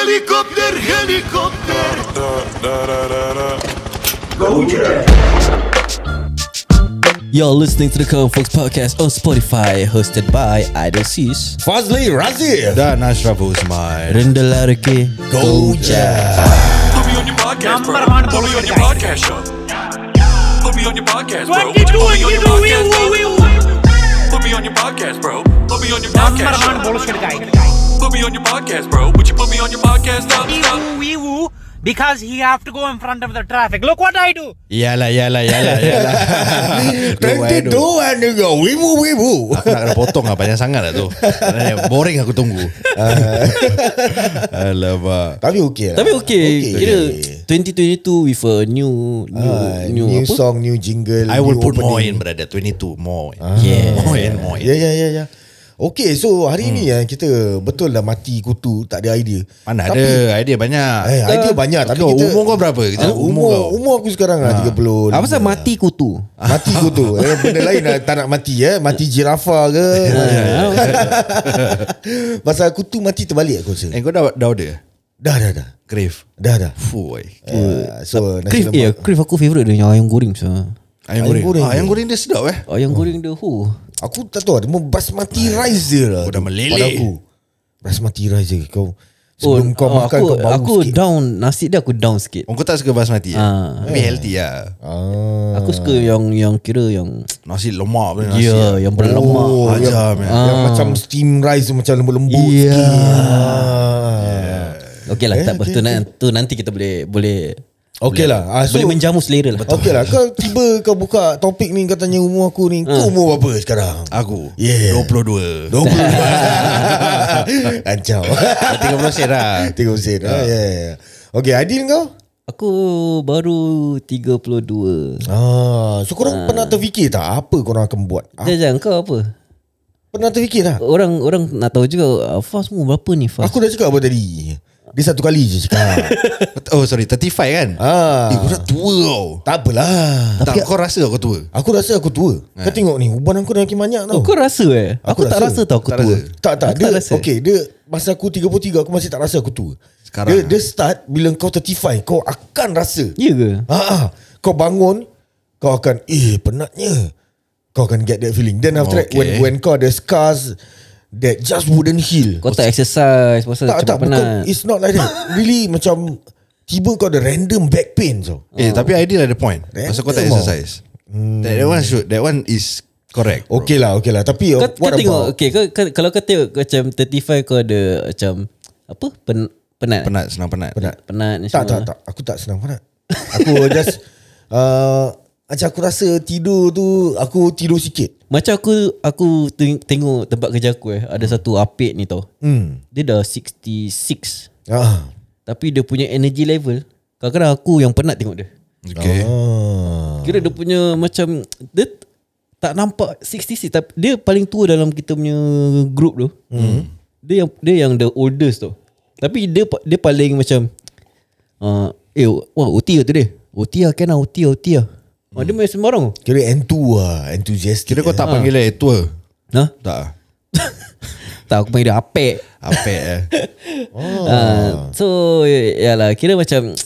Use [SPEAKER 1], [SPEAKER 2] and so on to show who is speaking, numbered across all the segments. [SPEAKER 1] helikopter, helikopter.
[SPEAKER 2] You're listening to the Common Folks Podcast on Spotify, hosted by Idol Sis.
[SPEAKER 3] Fazli Razif Oh,
[SPEAKER 4] Dan Ashraf Usman Oh,
[SPEAKER 2] Rendah lari ke
[SPEAKER 4] Goja
[SPEAKER 1] Put me on your podcast, bro. Put me on your podcast, yo. Put me on your podcast, bro.
[SPEAKER 5] What you
[SPEAKER 1] Put
[SPEAKER 5] doing?
[SPEAKER 1] me on
[SPEAKER 5] You
[SPEAKER 1] your
[SPEAKER 5] do we
[SPEAKER 1] podcast, bro.
[SPEAKER 5] we we.
[SPEAKER 1] Put me on your podcast, bro. Put me on your
[SPEAKER 5] Number
[SPEAKER 1] podcast,
[SPEAKER 5] one
[SPEAKER 1] yo.
[SPEAKER 5] bullshit guy.
[SPEAKER 1] Put me on your podcast, bro. Would you put me on your podcast? Stop,
[SPEAKER 5] He
[SPEAKER 1] stop.
[SPEAKER 5] woo, he woo, because he have to go in front of the traffic. Look what I do.
[SPEAKER 4] Yalah yalah yalah yalah
[SPEAKER 3] Nanti doan juga Wibu wibu
[SPEAKER 4] Aku nak kena potong lah Panjang sangat lah tu Boring aku tunggu Alamak
[SPEAKER 3] Tapi okey lah
[SPEAKER 2] Tapi okay, okay.
[SPEAKER 3] Okey.
[SPEAKER 2] Kira 2022 with a new New,
[SPEAKER 3] Ah,
[SPEAKER 2] new,
[SPEAKER 3] New
[SPEAKER 2] apa?
[SPEAKER 3] song New jingle
[SPEAKER 4] I will
[SPEAKER 3] new
[SPEAKER 4] put more in
[SPEAKER 3] opening.
[SPEAKER 4] brother
[SPEAKER 3] Ah.
[SPEAKER 4] 22 more in
[SPEAKER 2] Yeah.
[SPEAKER 4] More in more Hmm. in
[SPEAKER 3] Ya ya ya ya Okay so hari ni eh, Kita betul lah mati kutu Tak ada idea
[SPEAKER 4] Mana
[SPEAKER 3] Tapi,
[SPEAKER 4] ada Idea banyak
[SPEAKER 3] Eh, idea banyak Tapi
[SPEAKER 4] Kau,
[SPEAKER 3] kita
[SPEAKER 4] Umur kau berapa? Kita,
[SPEAKER 3] Ah, umur,
[SPEAKER 4] umur kau Ah.
[SPEAKER 3] umur aku sekarang lah 30
[SPEAKER 2] Apa Ah, pasal mati kutu?
[SPEAKER 3] Mati kutu eh, Benda lain lah, tak nak mati eh Mati jirafa ke
[SPEAKER 4] Ya,
[SPEAKER 3] Eh. Pasal kutu mati terbalik aku rasa
[SPEAKER 4] Eh kau dah, dah order?
[SPEAKER 3] Dah dah dah
[SPEAKER 4] Grave
[SPEAKER 3] Dah dah
[SPEAKER 4] Fuh
[SPEAKER 3] Ah, So nasi
[SPEAKER 2] Crave, eh,
[SPEAKER 3] lemak
[SPEAKER 2] crave aku favourite dia yang ayam goreng so.
[SPEAKER 4] Ayam,
[SPEAKER 3] Ayam
[SPEAKER 4] goreng,
[SPEAKER 3] goreng
[SPEAKER 4] Ah, Ayam
[SPEAKER 3] dia.
[SPEAKER 4] goreng dia sedap eh
[SPEAKER 3] Oh.
[SPEAKER 2] Ayam goreng dia hu.
[SPEAKER 3] Aku tak tahu Dia basmati rice dia lah
[SPEAKER 4] Kau dah
[SPEAKER 3] tu,
[SPEAKER 4] meleleh.
[SPEAKER 3] pada aku. Basmati rice dia Kau Sebelum kau makan
[SPEAKER 2] Oh, aku,
[SPEAKER 3] Kau bau
[SPEAKER 2] aku
[SPEAKER 3] sikit
[SPEAKER 2] down nasi dia aku down sikit.
[SPEAKER 4] Oh, Kau tak suka basmati eh?
[SPEAKER 2] Ah.
[SPEAKER 4] Tapi healthy lah
[SPEAKER 3] ah.
[SPEAKER 2] Aku suka yang yang kira yang
[SPEAKER 4] Nasi lemak punya
[SPEAKER 2] ya
[SPEAKER 4] nasi
[SPEAKER 2] yeah,
[SPEAKER 4] lah.
[SPEAKER 2] yang berlemak.
[SPEAKER 3] Oh,
[SPEAKER 4] Ajar,
[SPEAKER 3] yang,
[SPEAKER 4] man.
[SPEAKER 3] yang macam
[SPEAKER 2] Ah.
[SPEAKER 3] steam rice tu Macam lembut-lembut
[SPEAKER 2] Yeah.
[SPEAKER 3] sikit. Ah.
[SPEAKER 2] Okey lah tak apa tu, nan- tu nanti kita boleh boleh
[SPEAKER 3] Okey lah. Ah, so-
[SPEAKER 2] boleh menjamu selera lah.
[SPEAKER 3] Okey lah Kau tiba kau buka topik ni Kau tanya umur aku ni
[SPEAKER 2] Ah.
[SPEAKER 3] Kau umur berapa sekarang?
[SPEAKER 4] Aku
[SPEAKER 3] Yeah.
[SPEAKER 4] 22
[SPEAKER 3] 20 Kacau
[SPEAKER 4] 30 sen lah
[SPEAKER 3] Tengok Hussein ah, yeah, yeah. Okay Adil kau?
[SPEAKER 2] Aku baru 32
[SPEAKER 3] Ah, so korang pernah terfikir tak Apa korang akan buat? Ah,
[SPEAKER 2] Jangan jangan Eh, kau apa
[SPEAKER 3] pernah terfikir tak?
[SPEAKER 2] Orang orang nak tahu juga ah, Fast mu berapa ni Fast
[SPEAKER 3] Aku dah cakap apa tadi? Dia satu kali je cakap
[SPEAKER 4] Oh sorry 35 kan
[SPEAKER 3] ah,
[SPEAKER 4] Eh kau dah tua kau
[SPEAKER 3] Tak apalah
[SPEAKER 4] Tak kau rasa kau tua
[SPEAKER 3] Aku rasa aku tua Kau tengok ni Uban aku dah makin banyak
[SPEAKER 2] Oh,
[SPEAKER 3] tau
[SPEAKER 2] kau rasa eh Aku,
[SPEAKER 3] Aku
[SPEAKER 2] tak rasa,
[SPEAKER 3] rasa.
[SPEAKER 2] tau aku
[SPEAKER 4] Tak
[SPEAKER 2] tua
[SPEAKER 4] rasa.
[SPEAKER 3] Tak tak
[SPEAKER 2] Aku
[SPEAKER 3] dia,
[SPEAKER 2] tak rasa.
[SPEAKER 3] Okay dia Masa aku 33 Aku masih tak rasa aku tua
[SPEAKER 4] Sekarang,
[SPEAKER 3] dia,
[SPEAKER 4] ah.
[SPEAKER 3] dia start Bila kau 35 Kau akan rasa
[SPEAKER 2] Ya ke
[SPEAKER 3] Ah, ah. Kau bangun Kau akan Eh penatnya Kau akan get that feeling Then after okay. that when,
[SPEAKER 4] Okay.
[SPEAKER 3] when kau ada scars That just wouldn't heal
[SPEAKER 2] Kau tak exercise Pasal cepat
[SPEAKER 3] Tak tak bukan
[SPEAKER 2] penat
[SPEAKER 3] It's not like that Really macam Tiba kau ada random back pain so.
[SPEAKER 4] Eh tapi ideal ada point Pasal kau tak
[SPEAKER 3] Random, oh.
[SPEAKER 4] exercise That that one should That one is correct bro.
[SPEAKER 3] Okay lah okay lah Tapi
[SPEAKER 2] Kau,
[SPEAKER 3] what
[SPEAKER 2] kau
[SPEAKER 3] about
[SPEAKER 2] tengok okay, kau, kau, Kalau kau tengok kau Macam 35 kau ada Macam Apa Pen, Penat
[SPEAKER 4] Penat senang penat
[SPEAKER 3] Penat
[SPEAKER 2] Penat ni
[SPEAKER 3] Tak
[SPEAKER 2] semua.
[SPEAKER 3] tak tak Aku tak senang penat Aku just uh, Macam aku rasa tidur tu Aku tidur sikit
[SPEAKER 2] Macam aku Aku teng- tengok tempat kerja aku eh Ada satu apik ni tau
[SPEAKER 3] Hmm
[SPEAKER 2] Dia dah 66
[SPEAKER 3] ah.
[SPEAKER 2] Tapi dia punya energy level Kadang-kadang aku yang penat tengok dia
[SPEAKER 4] Okay
[SPEAKER 3] ah.
[SPEAKER 2] Kira dia punya macam Dia t- tak nampak 66 tapi Dia paling tua dalam kita punya group tu hmm. Dia yang dia yang the oldest tu Tapi dia pa- dia paling macam uh, Eh wah OT lah tu dia OT lah kan lah OT lah OT lah hmm. Dia main sembarang
[SPEAKER 3] Kira entu lah Enthusiastic
[SPEAKER 4] Kira kau tak panggil dia tua
[SPEAKER 2] ha?
[SPEAKER 4] Ah. Tak ah.
[SPEAKER 2] Tak aku panggil dia apek
[SPEAKER 4] Apek eh
[SPEAKER 2] oh. uh, So ya lah kira macam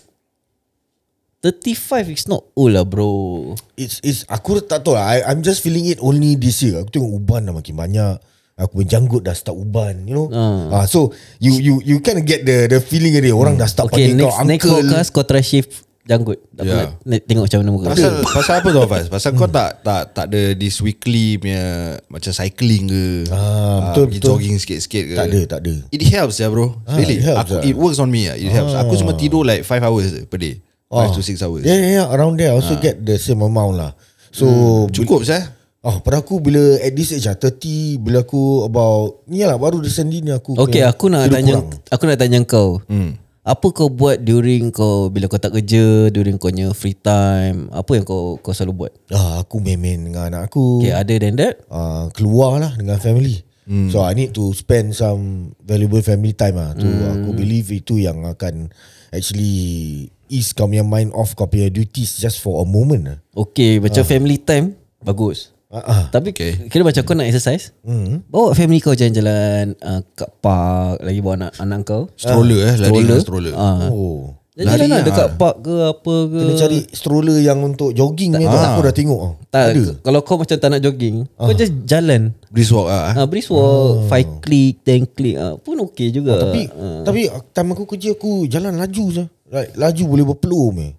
[SPEAKER 2] 35 is not old lah bro
[SPEAKER 3] It's it's aku tak tahu lah. I, I'm just feeling it only this year. Aku tengok uban dah makin banyak. Aku punya janggut dah start uban, you know. Ah, Hmm. so you you you kind of get the the feeling dia. Orang dah start
[SPEAKER 2] Okay next,
[SPEAKER 3] panggil kau
[SPEAKER 2] next
[SPEAKER 3] uncle.
[SPEAKER 2] podcast kau try shift janggut Aku
[SPEAKER 4] Yeah.
[SPEAKER 2] nak, nak tengok macam mana muka kau.
[SPEAKER 4] Pasal pasal apa tu Faz Pasal kau tak tak tak ada this weekly punya Macam cycling ke
[SPEAKER 3] Ah, betul,
[SPEAKER 4] pergi
[SPEAKER 3] betul.
[SPEAKER 4] Jogging sikit-sikit ke
[SPEAKER 3] Tak ada, tak ada.
[SPEAKER 4] It helps ya bro
[SPEAKER 3] Ah,
[SPEAKER 4] Really
[SPEAKER 3] it
[SPEAKER 4] aku,
[SPEAKER 3] helps lah.
[SPEAKER 4] It works on me ah. It helps Aku cuma tidur like 5 hours per day 5 to 6 hours
[SPEAKER 3] Ah.
[SPEAKER 4] Ah. Hmm,
[SPEAKER 3] Yeah, yeah, yeah, around there. I also get the same amount lah. So
[SPEAKER 4] Cukup sah
[SPEAKER 3] Oh, pada aku bila at this age lah 30 bila aku about ni lah baru recently ni aku.
[SPEAKER 2] Okay
[SPEAKER 3] punya
[SPEAKER 2] aku nak
[SPEAKER 3] tidur
[SPEAKER 2] tanya
[SPEAKER 3] kurang.
[SPEAKER 2] Aku nak tanya kau hmm. Apa kau buat during kau Bila kau tak kerja During kau punya free time Apa yang kau kau selalu buat
[SPEAKER 3] Ah, aku main-main dengan anak aku.
[SPEAKER 2] Okay other than that
[SPEAKER 3] uh, keluar lah dengan family. Hmm. So I need to spend some valuable family time lah. Tu hmm. aku believe itu yang akan actually ease kau punya mind off kau punya duties just for a moment lah.
[SPEAKER 2] Okay macam family time Bagus
[SPEAKER 3] Ah, ah.
[SPEAKER 2] Tapi
[SPEAKER 4] Okay.
[SPEAKER 2] okay. kira macam kau nak exercise mm. Bawa family kau jalan-jalan uh, Kat park Lagi bawa anak, anak kau
[SPEAKER 4] Stroller eh Lari dengan stroller
[SPEAKER 2] uh,
[SPEAKER 3] Oh.
[SPEAKER 2] Jalan-jalan lah
[SPEAKER 4] Lari,
[SPEAKER 2] dekat
[SPEAKER 4] ah.
[SPEAKER 2] park ke apa ke
[SPEAKER 3] Kena cari stroller yang untuk jogging ni tu. Aku dah tengok. ah.
[SPEAKER 2] tak,
[SPEAKER 3] Ada.
[SPEAKER 2] Kalau kau macam tak nak jogging Kau
[SPEAKER 4] Ah.
[SPEAKER 2] just jalan
[SPEAKER 4] Breeze walk lah eh.
[SPEAKER 2] Ah, brisk walk, 5 click, 10 click ah, Pun okay
[SPEAKER 4] Oh,
[SPEAKER 2] juga
[SPEAKER 3] Tapi
[SPEAKER 4] Hmm.
[SPEAKER 2] Ah.
[SPEAKER 3] tapi time aku kerja aku jalan laju je. Like, laju boleh berpeluh meh.
[SPEAKER 4] Eh,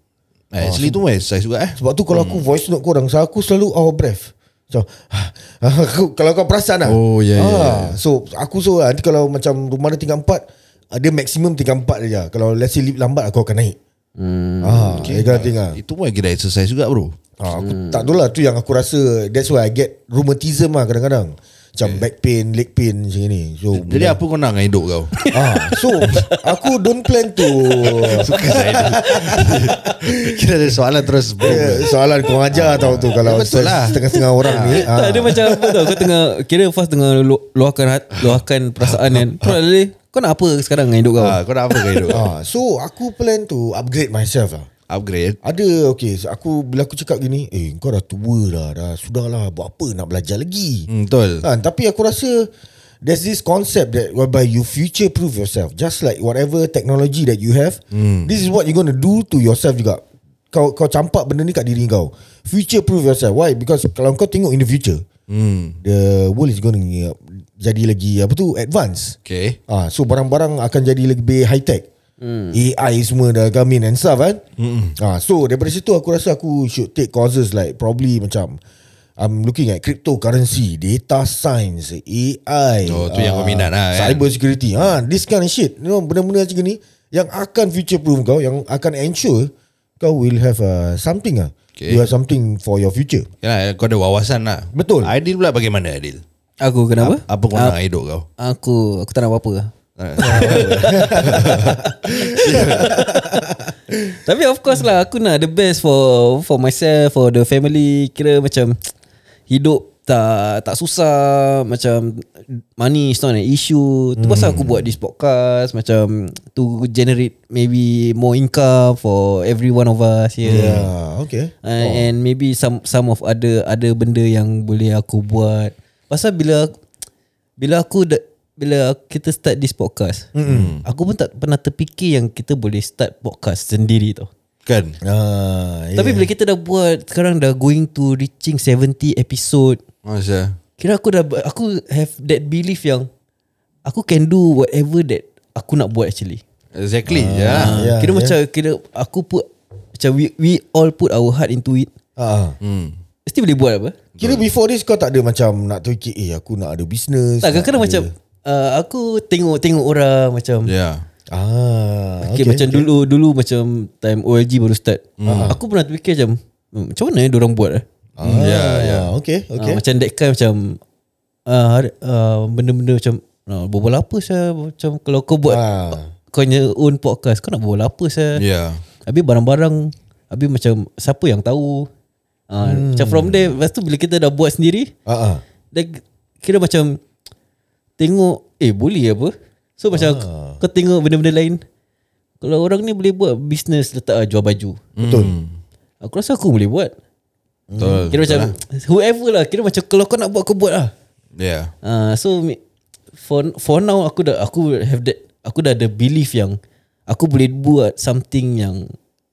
[SPEAKER 3] Ah.
[SPEAKER 4] Actually tu exercise juga eh
[SPEAKER 3] Sebab tu kalau aku voice note korang saya aku selalu out of breath. So ah, aku kalau kau perasan lah.
[SPEAKER 4] Oh, ya, ya,
[SPEAKER 3] yeah. So aku so nanti kalau macam rumah dia tingkat empat ah, dia maksimum tingkat empat saja. Kalau let's say lift lambat aku akan naik. Hmm. Ah, okay. Dia tinggal.
[SPEAKER 4] Itu pun kira exercise juga bro
[SPEAKER 3] Ah, aku hmm. tak tahu lah tu yang aku rasa that's why I get rheumatism lah kadang-kadang. Macam back pain, leg pain macam ni. So
[SPEAKER 4] Jadi apa kau nak dengan hidup kau
[SPEAKER 3] Ah, so aku don't plan to
[SPEAKER 4] Suka saya hidup. Kira ada soalan terus bro
[SPEAKER 3] Eh, soalan kau ajar tau tu kalau
[SPEAKER 4] Ya, betul lah.
[SPEAKER 3] setengah-setengah orang
[SPEAKER 2] Tak
[SPEAKER 3] ni.
[SPEAKER 4] ah.
[SPEAKER 2] ada macam apa tau Kau tengah Kira Fas tengah lu- luahkan hat- Luahkan perasaan kan Kau nak lari, Kau nak apa sekarang dengan hidup kau
[SPEAKER 4] Ah, Kau nak apa dengan hidup kau?
[SPEAKER 3] Ah, so aku plan to upgrade myself lah.
[SPEAKER 4] Upgrade
[SPEAKER 3] Ada okay so aku bila aku cakap gini, eh kau dah tua dah, dah sudahlah buat apa nak belajar lagi.
[SPEAKER 4] Hmm, Betul
[SPEAKER 3] Ha, tapi aku rasa there's this concept that whereby you future proof yourself. Just like whatever technology that you have, mm. this is what you're going to do to yourself juga. Kau kau campak benda ni kat diri kau. Future proof yourself. Why? Because kalau kau tengok in the future, mm. the world is going to jadi lagi apa tu advance.
[SPEAKER 4] Okay
[SPEAKER 3] Ah, so barang-barang akan jadi lebih high tech. Mm. AI semua dah come in and stuff kan. Mm. Ah, so daripada situ aku rasa aku should take courses like probably macam I'm looking at cryptocurrency, data science, AI.
[SPEAKER 4] Oh, tu yang
[SPEAKER 3] ah,
[SPEAKER 4] kau minat lah, kan?
[SPEAKER 3] Cyber security. Ah, this kind of shit. You know, benda-benda macam ni yang akan future proof kau, yang akan ensure kau will have uh, something ah.
[SPEAKER 4] Okay.
[SPEAKER 3] You have something for your future.
[SPEAKER 4] Yalah, kau ada wawasan lah
[SPEAKER 3] Betul. Ah.
[SPEAKER 4] Aidil pula bagaimana Aidil
[SPEAKER 2] Aku kenapa?
[SPEAKER 4] Ah, Apa kau nak dengan hidup kau
[SPEAKER 2] Aku Aku tak nak apa-apa Tapi of course lah Aku nak the best for For myself For the family Kira macam Hidup tak tak susah macam money is not an issue tu pasal aku buat this podcast macam to generate maybe more income for every one of us
[SPEAKER 4] Hmm.
[SPEAKER 2] here
[SPEAKER 3] Yeah, okay.
[SPEAKER 2] uh, oh. and maybe some some of other other benda yang boleh aku buat pasal bila bila aku da, bila kita start this podcast mm-hmm. aku pun tak pernah terfikir yang kita boleh start podcast sendiri tau
[SPEAKER 4] Kan
[SPEAKER 3] Ah,
[SPEAKER 2] yeah. tapi bila kita dah buat sekarang dah going to reaching 70 episode
[SPEAKER 4] Masa
[SPEAKER 2] kira aku dah aku have that belief yang aku can do whatever that aku nak buat actually
[SPEAKER 4] Exactly ya.
[SPEAKER 3] Ah, Yeah,
[SPEAKER 2] yeah, kira
[SPEAKER 3] yeah.
[SPEAKER 2] yeah. macam kira aku put macam we, we all put our heart into it
[SPEAKER 3] ah.
[SPEAKER 2] mesti boleh buat apa
[SPEAKER 3] Kira before this kau tak ada macam nak terfikir eh aku nak ada business.
[SPEAKER 2] Tak kadang-kadang
[SPEAKER 3] nak
[SPEAKER 2] macam
[SPEAKER 3] ada-
[SPEAKER 2] uh, Aku tengok-tengok orang Macam yeah.
[SPEAKER 4] Ya.
[SPEAKER 3] ah
[SPEAKER 2] okay, okay, Macam dulu Dulu macam Time OLG baru start hmm. Aku pernah terfikir macam hmm, Macam mana eh Diorang buat eh?
[SPEAKER 3] Ah,
[SPEAKER 4] Ya, ya.
[SPEAKER 3] Okay,
[SPEAKER 2] okay.
[SPEAKER 3] okay.
[SPEAKER 2] uh, Macam that kind macam uh, hari- uh, Benda-benda macam uh, Berbual apa saya Macam kalau kau buat
[SPEAKER 3] Ah.
[SPEAKER 2] Kau punya own podcast Kau nak berbual apa saya
[SPEAKER 4] Ya.
[SPEAKER 2] Habis barang-barang Habis macam Siapa yang tahu uh, Macam from there Lepas tu bila kita dah buat sendiri
[SPEAKER 3] Ah, ah.
[SPEAKER 2] Dia kira macam Tengok Eh boleh apa So macam ah. Kau tengok benda-benda lain Kalau orang ni boleh buat Business letak ah, jual baju
[SPEAKER 4] Hmm.
[SPEAKER 3] Betul.
[SPEAKER 2] Aku rasa aku boleh buat
[SPEAKER 4] Hmm. Betul.
[SPEAKER 2] Mm.
[SPEAKER 4] eh.
[SPEAKER 2] Kira macam Whoever lah Kira macam Kalau kau nak buat Kau buat lah
[SPEAKER 4] Ya.
[SPEAKER 2] uh, So mi- For for now Aku dah Aku have that Aku dah ada belief yang Aku boleh buat Something yang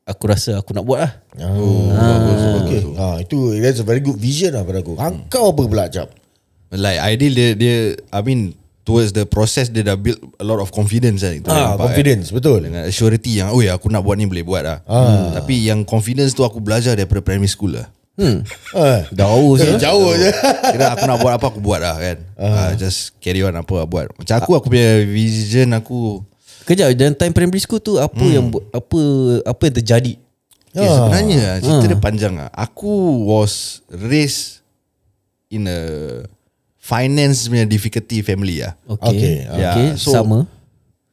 [SPEAKER 2] Aku rasa aku nak buat lah
[SPEAKER 4] Oh, bagus,
[SPEAKER 3] Okay.
[SPEAKER 4] bagus.
[SPEAKER 3] Ah, itu that's a very good vision lah pada aku. Hmm. Kau apa pula jap?
[SPEAKER 4] Like Aidil dia dia I mean towards the process dia dah build a lot of confidence kan. Itu yang
[SPEAKER 3] Ah,
[SPEAKER 4] nampak,
[SPEAKER 3] confidence,
[SPEAKER 4] Kan?
[SPEAKER 3] betul.
[SPEAKER 4] Dengan surety yang Oi aku nak buat ni boleh buat lah ah. Tapi yang confidence tu Aku belajar daripada primary school lah
[SPEAKER 3] Ah,
[SPEAKER 2] Jauh
[SPEAKER 3] eh,
[SPEAKER 2] je
[SPEAKER 3] jauh je.
[SPEAKER 4] Kira aku nak buat apa Aku buat lah kan ah. Just carry on apa aku buat Macam aku Aku punya vision aku
[SPEAKER 2] Kejap Dan time primary school tu Apa
[SPEAKER 4] Hmm.
[SPEAKER 2] yang bu- Apa Apa yang terjadi
[SPEAKER 4] Okay, sebenarnya ah, cerita dia panjang ah. Aku was raised in a finance punya difficulty family ah.
[SPEAKER 3] Okay,
[SPEAKER 2] Okay, okay,
[SPEAKER 4] yeah.
[SPEAKER 2] okay.
[SPEAKER 4] So-
[SPEAKER 2] Sama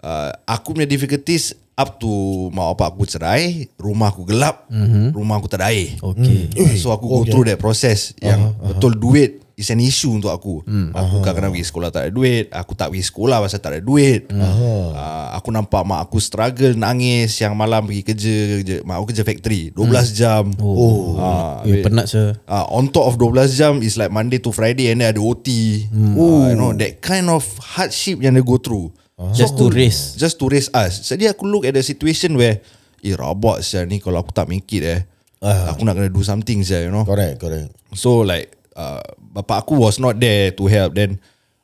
[SPEAKER 4] Uh, aku punya difficulties up to mak bapak aku cerai, rumah aku Mhm. gelap, mm-hmm. rumah aku tak ada air.
[SPEAKER 2] Okay
[SPEAKER 4] So aku go through that process yang betul duit It's an issue untuk aku Uh-huh, hmm. Aku kadang-kadang pergi sekolah tak ada duit Aku tak pergi sekolah pasal tak ada duit uh, Aku nampak mak aku struggle Nangis Siang malam pergi kerja, kerja. Mak aku kerja factory 12 jam Hmm. Oh, uh,
[SPEAKER 2] Eh, penat saya.
[SPEAKER 4] uh, on top of 12 jam is like Monday to Friday and then ada OT. Hmm. Uh, you know that kind of hardship yang they go through. Uh-huh.
[SPEAKER 2] Just to raise.
[SPEAKER 4] Just to raise us. Jadi aku look at the situation where eh rabak sia ni kalau aku tak make it eh. Uh. Aku nak kena do something sia you know.
[SPEAKER 3] Correct, correct.
[SPEAKER 4] So like uh, bapa aku was not there to help then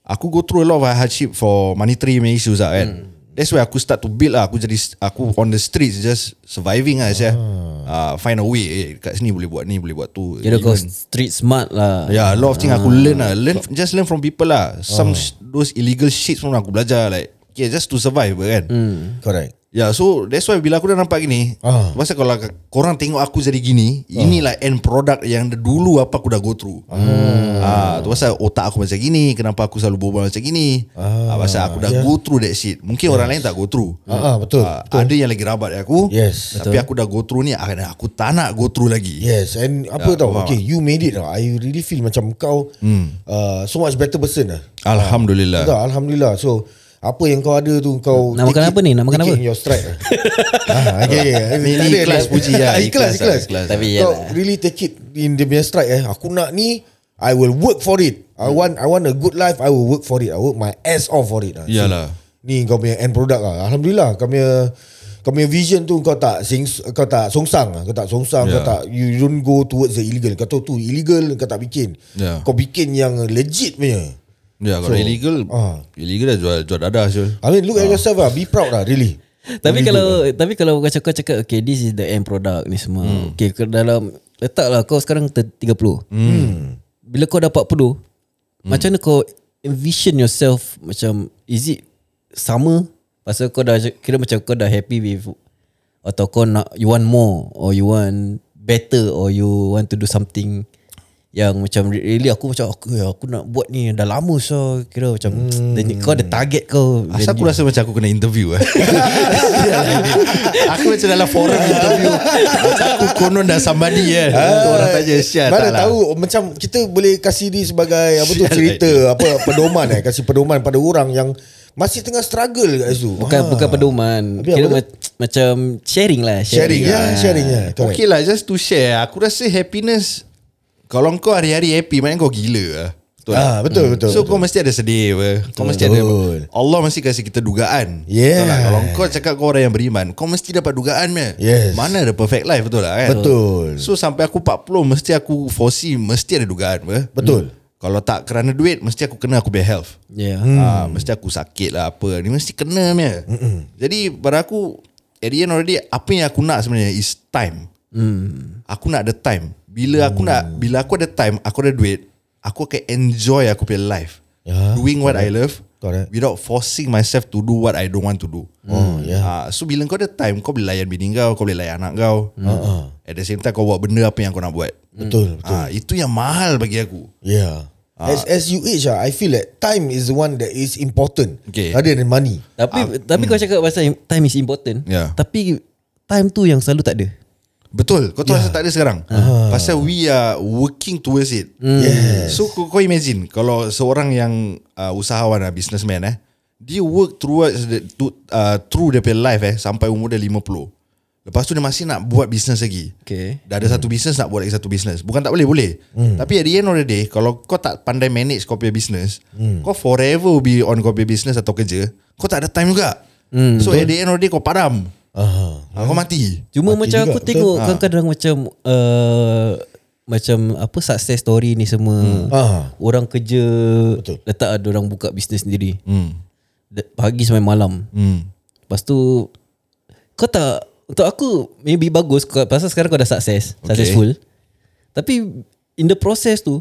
[SPEAKER 4] aku go through a lot of hardship for monetary punya issues lah kan. That's why aku start to build lah Aku jadi Aku on the streets Just surviving lah saya. Uh, find a way eh, Kat sini boleh buat ni Boleh buat tu
[SPEAKER 2] Kira kau
[SPEAKER 4] Even-
[SPEAKER 2] street smart lah.
[SPEAKER 4] Yeah, Ya, a lot of thing aku learn lah. Learn
[SPEAKER 3] Ah.
[SPEAKER 4] just learn from people lah. Some sh- those illegal shit pun aku belajar like yeah, just to survive kan.
[SPEAKER 3] Correct.
[SPEAKER 4] Yeah, so that's why bila aku dah nampak gini,
[SPEAKER 3] Hmm. Ah.
[SPEAKER 4] masa kalau k- korang tengok aku jadi gini, inilah end product yang de- dulu apa aku dah go through. Ah, tu pasal otak aku macam gini, kenapa aku selalu berbual macam gini. Ah, pasal aku dah
[SPEAKER 3] yeah.
[SPEAKER 4] go through that shit. Mungkin orang lain tak go through.
[SPEAKER 3] ya. Ah, ah, betul,
[SPEAKER 4] Ah,
[SPEAKER 3] betul.
[SPEAKER 4] Ada yang lagi rabat dari aku.
[SPEAKER 3] Yes.
[SPEAKER 4] Tapi aku dah go through ni, ah, aku tak nak go through lagi.
[SPEAKER 3] Yes, and
[SPEAKER 4] Ya,
[SPEAKER 3] apa
[SPEAKER 4] Hmm.
[SPEAKER 3] tau?
[SPEAKER 4] faham.
[SPEAKER 3] Okay, you made it lah. I really feel macam kau uh, so much better person lah.
[SPEAKER 4] Alhamdulillah.
[SPEAKER 3] Betul, alhamdulillah. So apa yang kau ada tu kau
[SPEAKER 2] Nak makan
[SPEAKER 3] take it-
[SPEAKER 2] apa ni? Nak makan
[SPEAKER 3] take it
[SPEAKER 2] apa?
[SPEAKER 3] in your stride lah. ah, okay, okay.
[SPEAKER 4] Ni-
[SPEAKER 3] Tak
[SPEAKER 4] ni
[SPEAKER 3] ada,
[SPEAKER 4] ikhlas
[SPEAKER 3] tak-
[SPEAKER 4] puji lah.
[SPEAKER 3] Ikhlas,
[SPEAKER 4] Ikhlas,
[SPEAKER 3] ikhlas.
[SPEAKER 4] ikhlas.
[SPEAKER 2] Tapi
[SPEAKER 3] Kau
[SPEAKER 2] yalah.
[SPEAKER 3] really take it in the punya stride eh. Aku nak ni, I will work for it. I want I want a good life. I will work for it. I work my ass off for it. lah. So,
[SPEAKER 4] Iyalah.
[SPEAKER 3] Ni kau punya end product lah. Alhamdulillah kau punya kau punya vision tu kau tak sing, kau tak songsang lah. kau tak songsang kau
[SPEAKER 4] Yeah.
[SPEAKER 3] tak you don't go towards the illegal kau tahu tu illegal kau tak bikin
[SPEAKER 4] Yeah.
[SPEAKER 3] kau bikin yang legit punya
[SPEAKER 4] Ya, kalau
[SPEAKER 3] So,
[SPEAKER 4] illegal,
[SPEAKER 3] ah.
[SPEAKER 4] illegal dah jual, jual dadah Syul.
[SPEAKER 3] I mean
[SPEAKER 4] Ah.
[SPEAKER 3] look at yourself lah Be proud lah really
[SPEAKER 2] Tapi
[SPEAKER 3] Really
[SPEAKER 2] kalau tapi kalau kau cakap, kau cakap okay this is the end product ni semua. Hmm. Okay ke dalam letaklah kau sekarang ter- 30. Hmm. Bila kau dah 40, hmm. macam mana kau envision yourself macam is it sama pasal kau dah kira macam kau dah happy with atau kau nak you want more or you want better or you want to do something yang macam really aku macam aku, aku nak buat ni dah lama so kira macam hmm. kau ada target kau
[SPEAKER 4] Asal aku rasa macam aku kena interview eh. aku macam dalam forum interview. Macam aku konon dah somebody eh. Untuk orang tanya Syah
[SPEAKER 3] Ah, Mana
[SPEAKER 4] tak lah.
[SPEAKER 3] tahu Macam kita boleh Kasih dia sebagai Apa tu
[SPEAKER 4] Sial,
[SPEAKER 3] cerita Apa pedoman eh Kasih pedoman pada orang yang Masih tengah struggle kat situ
[SPEAKER 2] Bukan
[SPEAKER 3] Ah.
[SPEAKER 2] bukan pedoman.
[SPEAKER 3] Habis
[SPEAKER 2] Kira
[SPEAKER 3] apa tu?
[SPEAKER 2] ma- macam sharing lah,
[SPEAKER 3] Sharing
[SPEAKER 2] sharing.
[SPEAKER 3] ya Sharing ya
[SPEAKER 4] Okay lah just to share. Aku rasa happiness. Kalau kau hari-hari happy maknanya kau gila lah. Betul tak?
[SPEAKER 3] Ah, betul, betul,
[SPEAKER 4] So
[SPEAKER 3] betul.
[SPEAKER 4] kau mesti ada sedih apa. Kau mesti ada
[SPEAKER 3] Betul.
[SPEAKER 4] Allah mesti kasih kita dugaan Betul
[SPEAKER 3] Yeah.
[SPEAKER 4] tak? Kalau kau cakap kau orang yang beriman Kau mesti dapat dugaan meh.
[SPEAKER 3] Yes.
[SPEAKER 4] Mana ada perfect life betul lah kan
[SPEAKER 3] Betul.
[SPEAKER 4] So sampai aku 40 Mesti aku foresee Mesti ada dugaan apa. Hmm.
[SPEAKER 3] Betul.
[SPEAKER 4] Kalau tak kerana duit Mesti aku kena aku punya health
[SPEAKER 2] Yeah.
[SPEAKER 4] hmm. ah, Mesti aku sakit lah apa Ni mesti kena meh.
[SPEAKER 3] Hmm.
[SPEAKER 4] Jadi pada aku At the end already Apa yang aku nak sebenarnya Is time
[SPEAKER 3] Hmm.
[SPEAKER 4] Aku nak ada time Bila aku nak Bila aku ada time Aku ada duit Aku akan enjoy aku punya life
[SPEAKER 3] Ya,
[SPEAKER 4] Doing what I love
[SPEAKER 3] Correct.
[SPEAKER 4] Without forcing myself to do what I don't want to do
[SPEAKER 3] Oh ya
[SPEAKER 4] Ah, so bila kau ada time Kau boleh layan bini kau Kau boleh layan anak kau At the same time kau buat benda Apa yang kau nak buat
[SPEAKER 3] Betul Hmm. betul.
[SPEAKER 4] Ah, Itu yang mahal bagi aku
[SPEAKER 3] Yeah As, as you age ah, I feel that time is the one that is important
[SPEAKER 4] Okay.
[SPEAKER 3] Rather than money
[SPEAKER 2] Tapi tapi kau cakap pasal im- time is important.
[SPEAKER 4] Yeah.
[SPEAKER 2] Tapi time tu yang selalu tak ada.
[SPEAKER 4] Betul Kau
[SPEAKER 2] Ya.
[SPEAKER 4] tahu yeah. tak ada sekarang
[SPEAKER 2] Ah.
[SPEAKER 4] Pasal we are Working towards it
[SPEAKER 2] Hmm.
[SPEAKER 3] Yes.
[SPEAKER 4] So kau, kau imagine Kalau seorang yang uh, Usahawan lah Businessman eh Dia work towards the, to, uh, Through dia punya life eh Sampai umur dia 50 Lepas tu dia masih nak buat business lagi
[SPEAKER 2] Okay. Hmm.
[SPEAKER 4] Dah ada satu business Nak buat lagi satu business Bukan tak boleh Boleh Tapi at the end of the day Kalau kau tak pandai manage Kau punya business
[SPEAKER 2] Hmm.
[SPEAKER 4] Kau forever will be On kau punya business Atau kerja Kau tak ada time juga
[SPEAKER 2] Hmm,
[SPEAKER 4] So at the end of the day Kau padam
[SPEAKER 3] Aha.
[SPEAKER 4] Ah, Kau mati
[SPEAKER 2] Cuma
[SPEAKER 3] Mati
[SPEAKER 2] macam
[SPEAKER 3] juga,
[SPEAKER 2] aku
[SPEAKER 3] betul. Ah.
[SPEAKER 2] tengok kadang-kadang macam uh, macam apa success story ni semua.
[SPEAKER 3] Ah.
[SPEAKER 2] Orang kerja
[SPEAKER 3] Betul.
[SPEAKER 2] letak ada orang buka bisnes sendiri. Hmm. Pagi sampai malam.
[SPEAKER 4] Hmm.
[SPEAKER 2] Lepas tu kau tak untuk aku maybe bagus kau, pasal sekarang kau dah sukses, okay.
[SPEAKER 4] Okay.
[SPEAKER 2] successful. Tapi in the process tu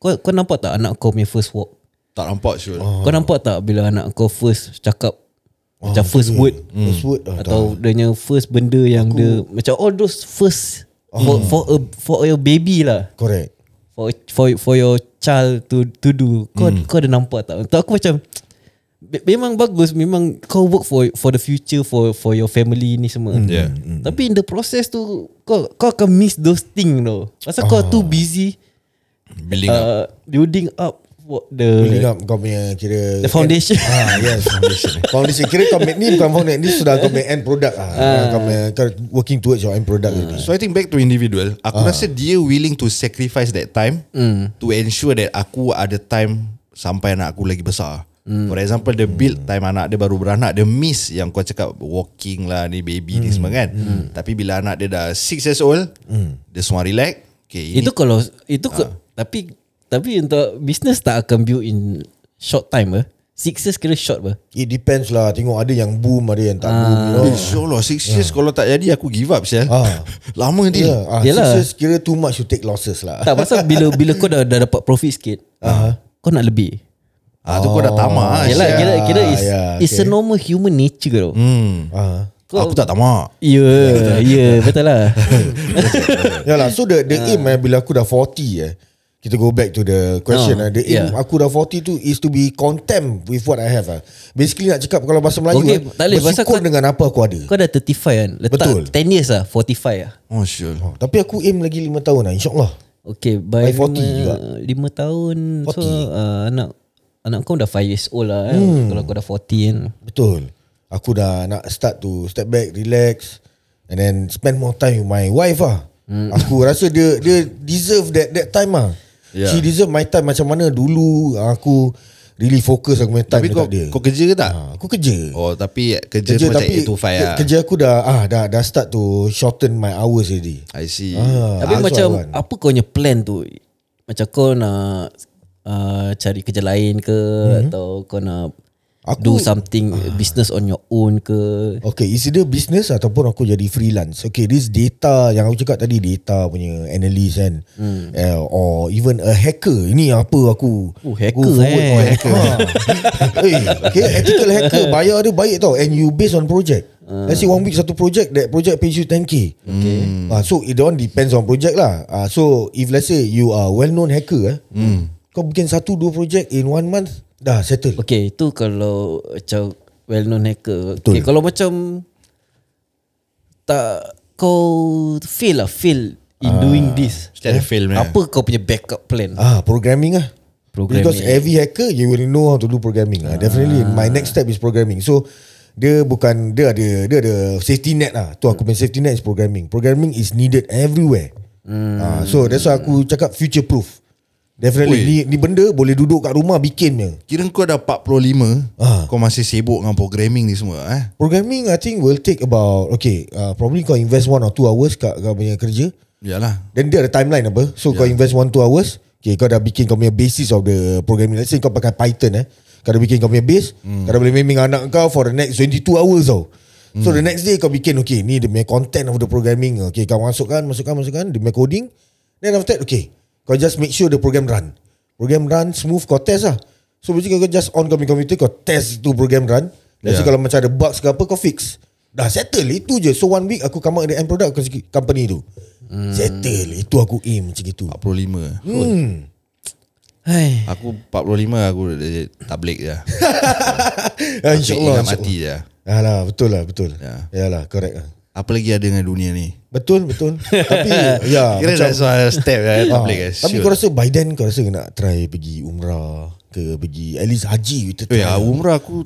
[SPEAKER 2] kau kau nampak tak anak kau punya first walk?
[SPEAKER 4] Tak nampak sure
[SPEAKER 2] Oh.
[SPEAKER 3] Ah.
[SPEAKER 2] Kau nampak tak bila anak kau first cakap oh,
[SPEAKER 3] Ah,
[SPEAKER 2] macam first word Hmm.
[SPEAKER 3] First word ah,
[SPEAKER 2] atau dia punya first benda yang dia macam all those first for,
[SPEAKER 3] Oh.
[SPEAKER 2] for a for your baby lah.
[SPEAKER 3] dah. Correct
[SPEAKER 2] For for for your child to to do. Kau
[SPEAKER 3] Hmm.
[SPEAKER 2] kau ada nampak tak? Untuk aku macam be- memang bagus memang kau work for for the future for for your family ni semua.
[SPEAKER 3] Hmm.
[SPEAKER 4] Yeah.
[SPEAKER 3] Ah.
[SPEAKER 2] Tapi in the process tu kau kau akan miss those thing tau. Pasal kau too busy
[SPEAKER 4] Building up
[SPEAKER 2] uh, building up what the
[SPEAKER 3] Building up kau punya kira
[SPEAKER 2] The foundation.
[SPEAKER 3] ah, Yes foundation Foundation Kira kau make ni bukan foundation Ni sudah kau punya end product
[SPEAKER 2] Ah.
[SPEAKER 3] lah Kau punya kau working towards your end product already.
[SPEAKER 4] So I think back to individual Aku
[SPEAKER 3] Ah.
[SPEAKER 4] rasa dia willing to sacrifice that time
[SPEAKER 3] Hmm.
[SPEAKER 4] To ensure that aku ada time Sampai anak aku lagi besar
[SPEAKER 3] Hmm.
[SPEAKER 4] For example the build time anak dia baru beranak Dia miss yang kau cakap Walking lah ni baby
[SPEAKER 3] Hmm.
[SPEAKER 4] ni semua kan Tapi bila anak dia dah 6 years old
[SPEAKER 3] Hmm.
[SPEAKER 4] Dia semua relax okay, ini
[SPEAKER 2] itu kalau itu ke, tapi tapi untuk business tak akan build in short time eh. Six years kira short eh. bah.
[SPEAKER 3] It depends lah Tengok ada yang boom Ada yang tak boom you know.
[SPEAKER 2] Ah.
[SPEAKER 4] InsyaAllah 6 years kalau tak jadi aku give up sial
[SPEAKER 3] Ah.
[SPEAKER 4] Lama
[SPEAKER 3] Ya,
[SPEAKER 4] dia
[SPEAKER 3] ah,
[SPEAKER 2] Yelah.
[SPEAKER 3] Yelah. Kira too much You take losses lah
[SPEAKER 2] Tak pasal bila bila kau dah, dah dapat profit sikit. Uh-huh. Kau nak lebih.
[SPEAKER 4] Ah, tu kau dah tamak
[SPEAKER 2] Yalah
[SPEAKER 4] sial.
[SPEAKER 2] kira kira is
[SPEAKER 3] yeah,
[SPEAKER 2] yeah, it's a
[SPEAKER 3] okay.
[SPEAKER 2] normal human nature tau.
[SPEAKER 4] hmm.
[SPEAKER 3] Ah.
[SPEAKER 4] Aku tak tamak
[SPEAKER 2] Ya, ya betul lah.
[SPEAKER 3] Ya lah So the, the
[SPEAKER 2] Ah.
[SPEAKER 3] aim eh, Bila aku dah 40 eh Kita go back to the question
[SPEAKER 2] Ah,
[SPEAKER 3] eh, The aim
[SPEAKER 2] yeah.
[SPEAKER 3] aku dah 40 tu Is to be content With what I have eh. Basically nak cakap Kalau bahasa Melayu
[SPEAKER 2] Okay,
[SPEAKER 3] eh,
[SPEAKER 2] tak boleh, pasal
[SPEAKER 3] Bersyukur
[SPEAKER 2] kau-
[SPEAKER 3] dengan apa aku ada
[SPEAKER 2] Kau dah 35 kan. Letak
[SPEAKER 3] Betul.
[SPEAKER 2] Betul. 10 years lah, 45 lah.
[SPEAKER 4] Oh sure
[SPEAKER 3] Oh, Tapi aku aim lagi 5 tahun lah InsyaAllah
[SPEAKER 2] Okay, by,
[SPEAKER 3] By 40 juga.
[SPEAKER 2] 5, 5 tahun 40. so
[SPEAKER 3] 40.
[SPEAKER 2] uh, anak anak kau dah 5 years old lah kan. Hmm. Kalau kau dah 40 kan.
[SPEAKER 3] Betul Aku dah nak start to Step back Relax And then Spend more time With my wife lah
[SPEAKER 4] Hmm.
[SPEAKER 3] Aku rasa dia Dia deserve that that time lah yeah.
[SPEAKER 4] Yeah.
[SPEAKER 3] She deserve my time Macam mana dulu Aku Really fokus Aku punya time
[SPEAKER 4] Tapi kau,
[SPEAKER 3] dekat dia
[SPEAKER 4] kau kerja ke tak?
[SPEAKER 3] Ah, Aku kerja
[SPEAKER 4] Oh tapi kerja, kerja macam 8 to 5 lah
[SPEAKER 3] kerja aku dah ah dah dah start to shorten my hours already.
[SPEAKER 4] I see
[SPEAKER 3] Ah,
[SPEAKER 2] Tapi
[SPEAKER 3] that's
[SPEAKER 2] macam
[SPEAKER 3] what I want.
[SPEAKER 2] apa kau punya plan tu? Macam kau nak uh, cari kerja lain ke atau kau nak
[SPEAKER 3] Mhm. Aku-
[SPEAKER 2] do something business on your own ke?
[SPEAKER 3] Okay, is either business ataupun aku jadi freelance. Okay, this data yang aku cakap tadi data punya analyst kan. Hmm. Uh, or even a hacker. Ini apa aku
[SPEAKER 2] Oh,
[SPEAKER 3] aku
[SPEAKER 2] hacker eh.
[SPEAKER 3] forward for hacker. hey, okay, ethical hacker bayar dia baik tau and you based on project.
[SPEAKER 2] Ha.
[SPEAKER 3] Let's say one week satu project that project pays you 10k. Okay. Uh, so it all depends on project lah. Uh, so if let's say you are well known hacker eh. Hmm. Kau bikin satu dua project in one month dah settle.
[SPEAKER 2] Okay, itu kalau macam well known hacker. Okay, kalau macam tak kau fail lah, fail in doing this.
[SPEAKER 4] Mesti ada fail punya.
[SPEAKER 2] Apa kau punya backup plan?
[SPEAKER 3] Eh, Ah, programming lah.
[SPEAKER 2] Programming.
[SPEAKER 3] Because every hacker you will know how to do programming. Ah. Definitely my next step is programming. So dia bukan dia ada dia ada safety net lah. Tu aku punya safety net is programming. Programming is needed everywhere. Hmm. Ah, so that's why aku cakap future proof. Definitely
[SPEAKER 4] Ui.
[SPEAKER 3] ni, ni benda boleh duduk kat rumah bikinnya.
[SPEAKER 4] Kira kau dah 45
[SPEAKER 3] Ah.
[SPEAKER 4] Kau masih sibuk dengan programming ni semua eh?
[SPEAKER 3] Programming I think will take about okay, uh, probably kau invest one or two hours kat kau punya kerja.
[SPEAKER 4] Yalah
[SPEAKER 3] Then dia ada timeline apa So yeah. kau invest 1-2 hours Okay kau dah bikin kau punya basis of the programming Let's say kau pakai Python eh Kau dah bikin kau punya base mm. Kau dah boleh memang anak kau For the next 22 hours tau So the next day kau bikin Okay ni dia punya content of the programming Okay kau masukkan Masukkan masukkan Dia punya coding Then after that okay Kau just make sure the program run Program run smooth kau test lah So basically kau just on kau punya computer Kau test tu program run Let's yeah. say
[SPEAKER 4] Yeah.
[SPEAKER 3] kalau macam ada bugs ke apa kau fix Dah settle itu je So one week aku come out dengan end product aku sikit company tu hmm. Settle Itu aku aim macam gitu
[SPEAKER 4] 45
[SPEAKER 3] Hmm.
[SPEAKER 2] Hai.
[SPEAKER 4] Aku 45 aku dah tablik je
[SPEAKER 3] Ah,
[SPEAKER 4] Tapi
[SPEAKER 3] InsyaAllah
[SPEAKER 4] ingat mati je
[SPEAKER 3] Alah, betul lah betul
[SPEAKER 4] Ya.
[SPEAKER 3] yeah. Yalah correct lah
[SPEAKER 4] Apa lagi ada dengan dunia ni?
[SPEAKER 3] Betul betul Tapi ya,
[SPEAKER 4] Kira
[SPEAKER 3] macam,
[SPEAKER 4] dah soal step eh,
[SPEAKER 3] ah,
[SPEAKER 4] tablik eh
[SPEAKER 3] Tapi kau rasa by then kau rasa nak try pergi umrah Ke pergi at least haji kita
[SPEAKER 4] Eh, ah, umrah aku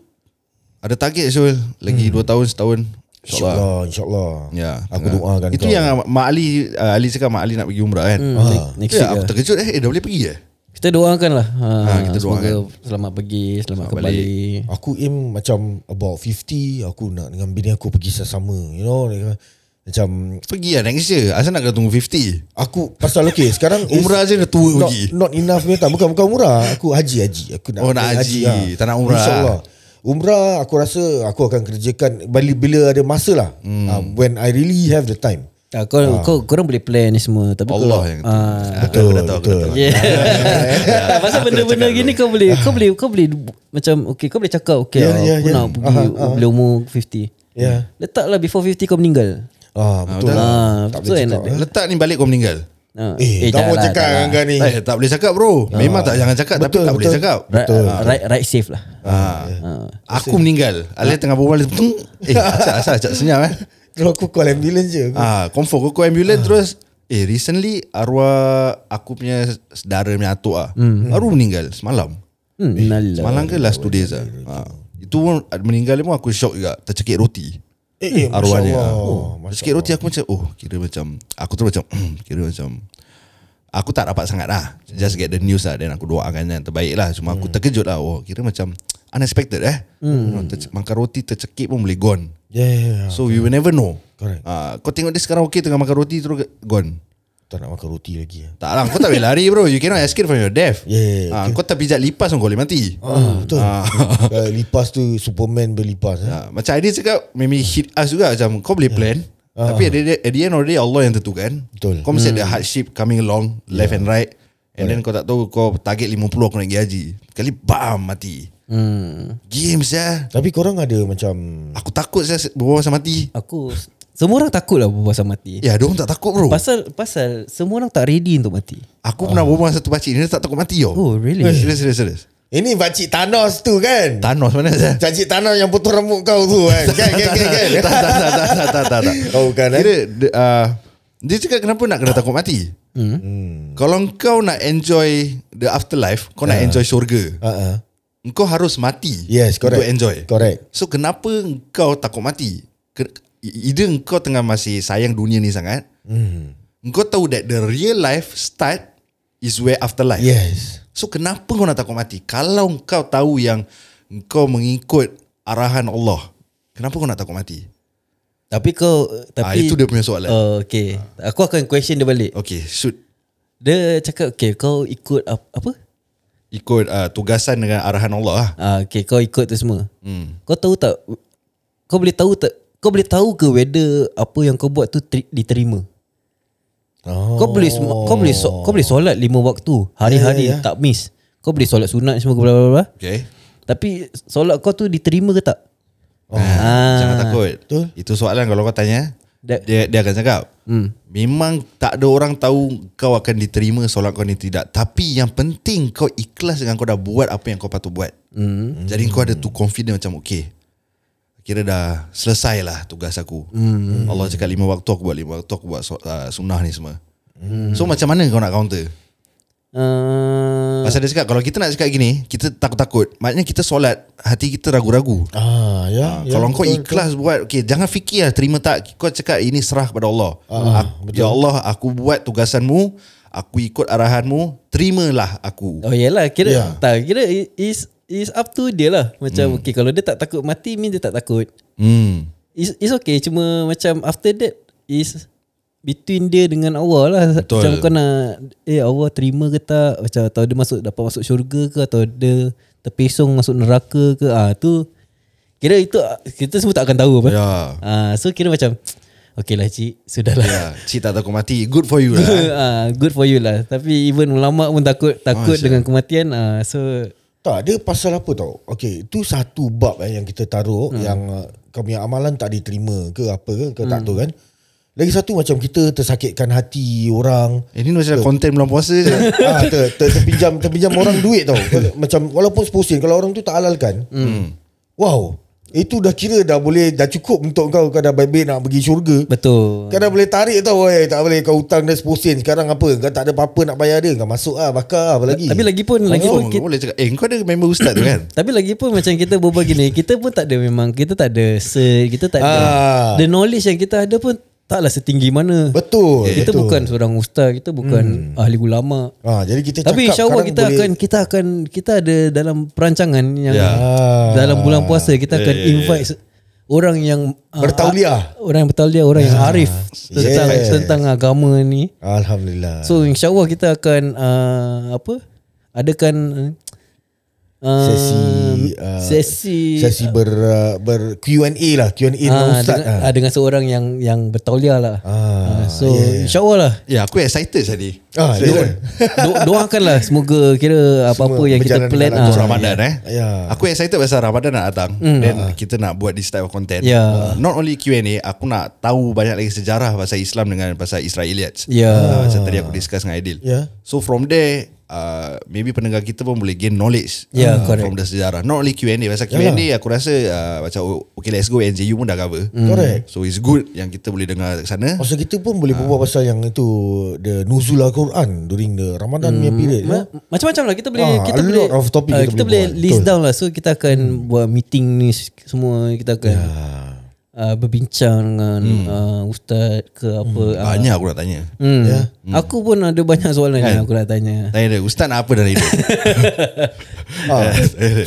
[SPEAKER 4] Ada target Syul Lagi 2 tahun setahun InsyaAllah
[SPEAKER 3] Hmm. InsyaAllah InsyaAllah
[SPEAKER 4] Ya,
[SPEAKER 3] Aku
[SPEAKER 4] tengah.
[SPEAKER 3] doakan
[SPEAKER 4] Itu
[SPEAKER 3] kau. Ah.
[SPEAKER 4] yang Mak Ali uh, Ali cakap Mak Ali nak pergi umrah kan hmm,
[SPEAKER 2] next week
[SPEAKER 4] ya, Aku
[SPEAKER 2] lah.
[SPEAKER 4] terkejut eh, eh dah boleh pergi eh
[SPEAKER 2] Kita doakan lah. Ha,
[SPEAKER 4] Ha, kita
[SPEAKER 2] semoga
[SPEAKER 4] doakan.
[SPEAKER 2] Selamat pergi, selamat,
[SPEAKER 4] Selamat
[SPEAKER 2] kembali.
[SPEAKER 3] Aku aim macam About 50 Aku nak dengan bini aku pergi sama You know Macam
[SPEAKER 4] Pergi lah next year Asal nak kena tunggu 50
[SPEAKER 3] Aku pasal okay sekarang is
[SPEAKER 4] Umrah je dah tua
[SPEAKER 3] not,
[SPEAKER 4] pergi.
[SPEAKER 3] Not enough punya tak bukan bukan umrah aku haji haji aku nak
[SPEAKER 4] Oh, nak haji. Tak nak umrah.
[SPEAKER 3] insyaallah umrah aku rasa aku akan kerjakan bila, bila ada masa lah hmm. uh, when I really have the time
[SPEAKER 2] Ha, kau, kau, korang boleh plan ni semua. Tapi
[SPEAKER 4] Allah
[SPEAKER 2] kalau,
[SPEAKER 4] yang
[SPEAKER 2] ha,
[SPEAKER 4] Ah, Betul
[SPEAKER 3] betul.
[SPEAKER 2] Yeah. Tak pasal benda-benda gini kau boleh kau boleh kau boleh bu- macam okay kau boleh cakap okay
[SPEAKER 3] Yeah,
[SPEAKER 2] yeah,
[SPEAKER 3] yeah,
[SPEAKER 2] aku
[SPEAKER 3] yeah.
[SPEAKER 2] nak pergi
[SPEAKER 3] Aha,
[SPEAKER 2] bila umur 50.
[SPEAKER 3] Yeah.
[SPEAKER 2] Letaklah before 50 kau meninggal.
[SPEAKER 3] Ya. ah betul
[SPEAKER 4] dah.
[SPEAKER 3] lah.
[SPEAKER 2] Ah,
[SPEAKER 3] tak
[SPEAKER 2] betul
[SPEAKER 3] boleh
[SPEAKER 2] kan?
[SPEAKER 3] cakap eh.
[SPEAKER 4] Letak ni balik kau meninggal
[SPEAKER 2] Ha.
[SPEAKER 3] eh, tak mau
[SPEAKER 2] janganlah,
[SPEAKER 3] cakap
[SPEAKER 2] janganlah.
[SPEAKER 3] dengan kau ni Oh.
[SPEAKER 4] Eh, tak boleh cakap bro Memang tak jangan cakap Tapi
[SPEAKER 3] Betul,
[SPEAKER 4] tak boleh
[SPEAKER 3] betul. Ah.
[SPEAKER 4] cakap
[SPEAKER 2] Right, right, right safe lah.
[SPEAKER 4] ha. Aku meninggal Alia tengah berbual dia tung. Eh asal asal Acak senyap eh
[SPEAKER 3] Terus aku call ambulance je
[SPEAKER 4] Ah,
[SPEAKER 3] Ah.
[SPEAKER 4] ha, Confirm kau call ambulance terus Eh recently Arwah Aku punya Sedara punya atuk lah mm. Baru meninggal Semalam
[SPEAKER 2] Hmm, nalar.
[SPEAKER 4] Semalam ke last two days lah ha. Itu pun Meninggal dia pun aku shock juga Tercekik roti
[SPEAKER 3] Eh, eh
[SPEAKER 4] Arwah dia
[SPEAKER 3] masya-Allah.
[SPEAKER 4] ah. Tercekik roti aku macam Oh kira macam Aku tu macam Kira macam Aku tak dapat sangat lah Just get the news lah Then aku doakan yang terbaik lah Cuma
[SPEAKER 3] Hmm.
[SPEAKER 4] aku terkejut lah Oh kira macam Unexpected eh hmm. Makan roti tercekik pun boleh gone
[SPEAKER 3] Yeah, yeah, yeah.
[SPEAKER 4] So we will never know
[SPEAKER 3] Correct.
[SPEAKER 4] Ah, Kau tengok dia sekarang okay Tengah makan roti terus gone
[SPEAKER 3] Tak nak makan roti lagi ah.
[SPEAKER 4] tak lah, kau tak boleh lari bro You cannot escape from your death
[SPEAKER 3] Yeah,
[SPEAKER 4] Ah, Kau terpijak lipas pun kau boleh mati
[SPEAKER 3] Ah, betul. Kalau lipas tu Superman berlipas eh.
[SPEAKER 4] Ah, Macam Aidil cakap Maybe hit us juga Macam kau boleh plan
[SPEAKER 2] Ah.
[SPEAKER 4] Tapi at the, at the end of the day Allah yang tentukan
[SPEAKER 3] Betul.
[SPEAKER 4] Kau mesti
[SPEAKER 2] Hmm.
[SPEAKER 4] ada hardship coming along Left and right And then kau tak tahu Kau target 50 aku nak pergi haji Kali bam mati
[SPEAKER 2] Hmm.
[SPEAKER 4] Games ya
[SPEAKER 3] Tapi korang ada macam
[SPEAKER 4] Aku takut saya berbual pasal mati
[SPEAKER 2] Aku semua orang takut lah berbual pasal mati.
[SPEAKER 4] Ya dia orang tak takut bro
[SPEAKER 2] Pasal pasal semua orang tak ready untuk mati.
[SPEAKER 4] Aku pernah berbual dengan satu pakcik Dia tak takut mati yo.
[SPEAKER 2] Oh, really?
[SPEAKER 4] Serius serius serius
[SPEAKER 3] Ini Pakcik Thanos tu kan
[SPEAKER 4] Thanos mana saya
[SPEAKER 3] Pakcik Thanos yang potong rambut kau tu kan Kan kan kan
[SPEAKER 4] tak,
[SPEAKER 3] kan
[SPEAKER 4] tak, tak, tak, tak, tak, tak, tak.
[SPEAKER 3] Oh, bukan, eh?
[SPEAKER 4] Kira, de, uh, dia cakap kenapa nak kena takut mati? Hmm. Kalau kau nak enjoy the afterlife, kau nak enjoy syurga,
[SPEAKER 3] Uh-uh.
[SPEAKER 4] kau harus mati
[SPEAKER 3] Ah. Yes correct
[SPEAKER 4] untuk enjoy.
[SPEAKER 3] Correct
[SPEAKER 4] So kenapa kau takut mati? Ke- Either kau tengah masih sayang dunia ni sangat, hmm. kau tahu that the real life start is where afterlife.
[SPEAKER 3] Yes
[SPEAKER 4] So kenapa kau nak takut mati? Kalau kau tahu yang kau mengikut arahan Allah, kenapa kau nak takut mati?
[SPEAKER 2] Tapi kau tapi
[SPEAKER 4] Ah, itu dia punya soalan.
[SPEAKER 2] Oh, okay. Aku akan question dia balik.
[SPEAKER 4] Okay, shoot
[SPEAKER 2] Dia cakap okay kau ikut ap- apa?
[SPEAKER 4] ikut uh, tugasan dengan arahan Allah lah.
[SPEAKER 2] Ah, okay kau ikut tu semua. Hmm. Kau tahu tak kau boleh tahu tak kau boleh tahu ke whether apa yang kau buat tu ter- diterima?
[SPEAKER 3] oh.
[SPEAKER 2] Kau boleh sema- kau boleh so- kau boleh solat lima waktu hari-hari
[SPEAKER 3] Ya, ya, ya.
[SPEAKER 2] tak miss. Kau boleh solat sunat semua bla bla bla.
[SPEAKER 4] Okay.
[SPEAKER 2] Tapi solat kau tu diterima ke tak?
[SPEAKER 4] Oh. Ah, jangan takut.
[SPEAKER 3] Betul.
[SPEAKER 4] Itu soalan kalau kau tanya,
[SPEAKER 2] That-
[SPEAKER 4] dia dia akan cakap. Hmm. Memang tak ada orang tahu kau akan diterima solat kau ni tidak. Tapi yang penting kau ikhlas dengan kau dah buat apa yang kau patut buat. Hmm. Jadi kau ada tu confident macam okay. Kira dah selesai lah tugas aku. Hmm. Allah cakap lima waktu aku buat lima waktu aku buat so, uh, sunnah ni semua. Hmm. So macam mana kau nak counter?
[SPEAKER 2] Uh,
[SPEAKER 4] Oh. Pasal dia cakap kalau kita nak cakap gini, kita takut-takut. Maknanya kita solat, hati kita ragu-ragu.
[SPEAKER 3] Ah, ya,
[SPEAKER 4] Ha,
[SPEAKER 3] ya
[SPEAKER 4] kalau kau
[SPEAKER 3] betul,
[SPEAKER 4] ikhlas buat okay, Jangan fikir lah terima tak Kau cakap ini serah kepada Allah
[SPEAKER 3] Ah,
[SPEAKER 4] aku, Ya Allah aku buat tugasanmu Aku ikut arahanmu Terimalah aku
[SPEAKER 2] oh yalah kira
[SPEAKER 3] Ya. Hmm.
[SPEAKER 2] yeah. tak kira i- is is up to dia lah. Macam okay kalau dia tak takut mati means dia tak takut.
[SPEAKER 4] hmm.
[SPEAKER 2] It's, it's okay cuma macam after that is between dia dengan Allah lah.
[SPEAKER 4] Betul.
[SPEAKER 2] Macam kau nak eh Allah terima ke tak macam atau dia masuk dapat masuk syurga ke atau dia terpesong masuk neraka ke ah tu kira itu kita semua tak akan tahu apa.
[SPEAKER 4] Ya.
[SPEAKER 2] Ah so kira macam okay lah cik sudahlah.
[SPEAKER 4] ya, Cik tak takut mati Good for you lah
[SPEAKER 2] Ah, good for you lah. Tapi even ulama pun takut takut
[SPEAKER 4] Ah,
[SPEAKER 2] dengan kematian. Ah, so
[SPEAKER 3] Tak, dia pasal apa tau? Okay, itu satu bab eh, yang kita taruh hmm. yang uh, kau punya amalan tak diterima ke apa ke, kau
[SPEAKER 4] Hmm.
[SPEAKER 3] tak tahu kan? Lagi satu macam kita tersakitkan hati orang.
[SPEAKER 4] Ini Eh, macam konten bulan puasa je
[SPEAKER 3] ah, ter, ter, terpinjam terpinjam orang duit tau. Kau- macam walaupun 10 sen kalau orang tu tak halalkan. Hmm. Wow. Itu dah kira dah boleh dah cukup untuk kau kau dah baik nak pergi syurga.
[SPEAKER 2] betul.
[SPEAKER 4] Kan
[SPEAKER 3] Kau dah boleh tarik tau eh Tak boleh kau hutang dia 10 sen Sekarang apa Kau tak ada apa-apa nak bayar dia Kau masuk lah bakar lah, apa lagi
[SPEAKER 2] Tapi lagi pun lagi pun
[SPEAKER 4] Confirm,
[SPEAKER 2] kita,
[SPEAKER 4] Kau boleh cakap Eh kau ada member ustaz tu kan
[SPEAKER 2] tapi lagi pun macam kita berbual gini, kita pun tak ada memang kita tak ada cert, kita tak ada
[SPEAKER 3] Ah.
[SPEAKER 2] the knowledge yang kita ada pun taklah setinggi mana.
[SPEAKER 3] Betul
[SPEAKER 2] Kita
[SPEAKER 3] betul. Hmm.
[SPEAKER 2] bukan seorang ustaz, kita bukan ahli ulama.
[SPEAKER 3] ah, Jadi kita
[SPEAKER 2] Tapi
[SPEAKER 3] cakap
[SPEAKER 2] insyaAllah
[SPEAKER 3] kadang
[SPEAKER 2] kita
[SPEAKER 3] boleh,
[SPEAKER 2] akan kita akan kita ada dalam perancangan yang
[SPEAKER 4] Ya.
[SPEAKER 2] dalam bulan puasa kita akan invite se- orang yang ah,
[SPEAKER 3] Bertauliah.
[SPEAKER 2] orang yang bertauliah, orang yang arif tentang
[SPEAKER 3] Yes.
[SPEAKER 2] tentang agama ni.
[SPEAKER 3] Alhamdulillah
[SPEAKER 2] So
[SPEAKER 3] so,
[SPEAKER 2] insyaAllah kita akan uh, apa? Adakan uh,
[SPEAKER 3] Sesi, ah,
[SPEAKER 2] sesi
[SPEAKER 3] Sesi ber, uh, ber Q&A lah Q&A
[SPEAKER 2] ah,
[SPEAKER 3] dengan Ustaz lah.
[SPEAKER 2] dengan,
[SPEAKER 3] dengan,
[SPEAKER 2] ah, dengan seorang yang yang bertauliah lah.
[SPEAKER 3] Ah,
[SPEAKER 2] Ah, so yeah. insyaAllah lah.
[SPEAKER 4] Ya aku excited tadi
[SPEAKER 3] ah, ah,
[SPEAKER 2] Do, do, doakanlah semoga kira apa-apa
[SPEAKER 3] Semua
[SPEAKER 2] yang kita
[SPEAKER 3] berjalan
[SPEAKER 2] plan
[SPEAKER 3] dengan
[SPEAKER 2] ah.
[SPEAKER 3] lancar.
[SPEAKER 4] Ramadan eh
[SPEAKER 3] Ya.
[SPEAKER 4] Aku excited pasal Ramadan nak datang mm. Then kita nak buat this type of content
[SPEAKER 2] Hmm. Ah.
[SPEAKER 4] Ah,
[SPEAKER 2] Ya.
[SPEAKER 4] Not only Q&A Aku nak tahu banyak lagi sejarah Pasal Islam dengan pasal Israelites
[SPEAKER 2] Ya.
[SPEAKER 4] Ah, Macam tadi aku discuss dengan Aidil
[SPEAKER 3] Ya.
[SPEAKER 4] So from there uh, maybe pendengar kita pun boleh gain knowledge ah,
[SPEAKER 2] Yeah, Ya, correct.
[SPEAKER 4] from the sejarah. Not only Q&A. Pasal Q&A aku rasa uh, macam oh, okay let's go NJU pun dah cover.
[SPEAKER 2] Hmm.
[SPEAKER 3] Correct.
[SPEAKER 4] So it's good yang kita boleh dengar kat sana.
[SPEAKER 2] Oh,
[SPEAKER 3] Masa kita pun boleh
[SPEAKER 2] Ah.
[SPEAKER 3] berbual pasal yang itu The Nuzul Al-Quran During the Ramadan
[SPEAKER 2] Hmm.
[SPEAKER 3] punya period ya?
[SPEAKER 2] Ma- Macam-macam lah kita boleh
[SPEAKER 3] Ah,
[SPEAKER 2] kita
[SPEAKER 3] a
[SPEAKER 2] boleh
[SPEAKER 3] lot of topic
[SPEAKER 2] ah,
[SPEAKER 3] kita
[SPEAKER 2] kita
[SPEAKER 3] boleh
[SPEAKER 2] boleh
[SPEAKER 3] buat.
[SPEAKER 2] list
[SPEAKER 3] Betul. Hmm.
[SPEAKER 2] down lah so kita akan buat meeting ni s- semua kita akan
[SPEAKER 3] Ya.
[SPEAKER 2] ah, berbincang dengan
[SPEAKER 3] Hmm.
[SPEAKER 2] ah, ustaz ke apa ah.
[SPEAKER 4] Banyak aku nak tanya.
[SPEAKER 2] Hmm. Aku pun ada banyak soalan yang aku nak tanya.
[SPEAKER 4] Tanya dia, Ustaz nak apa dalam hidup?
[SPEAKER 3] Ah.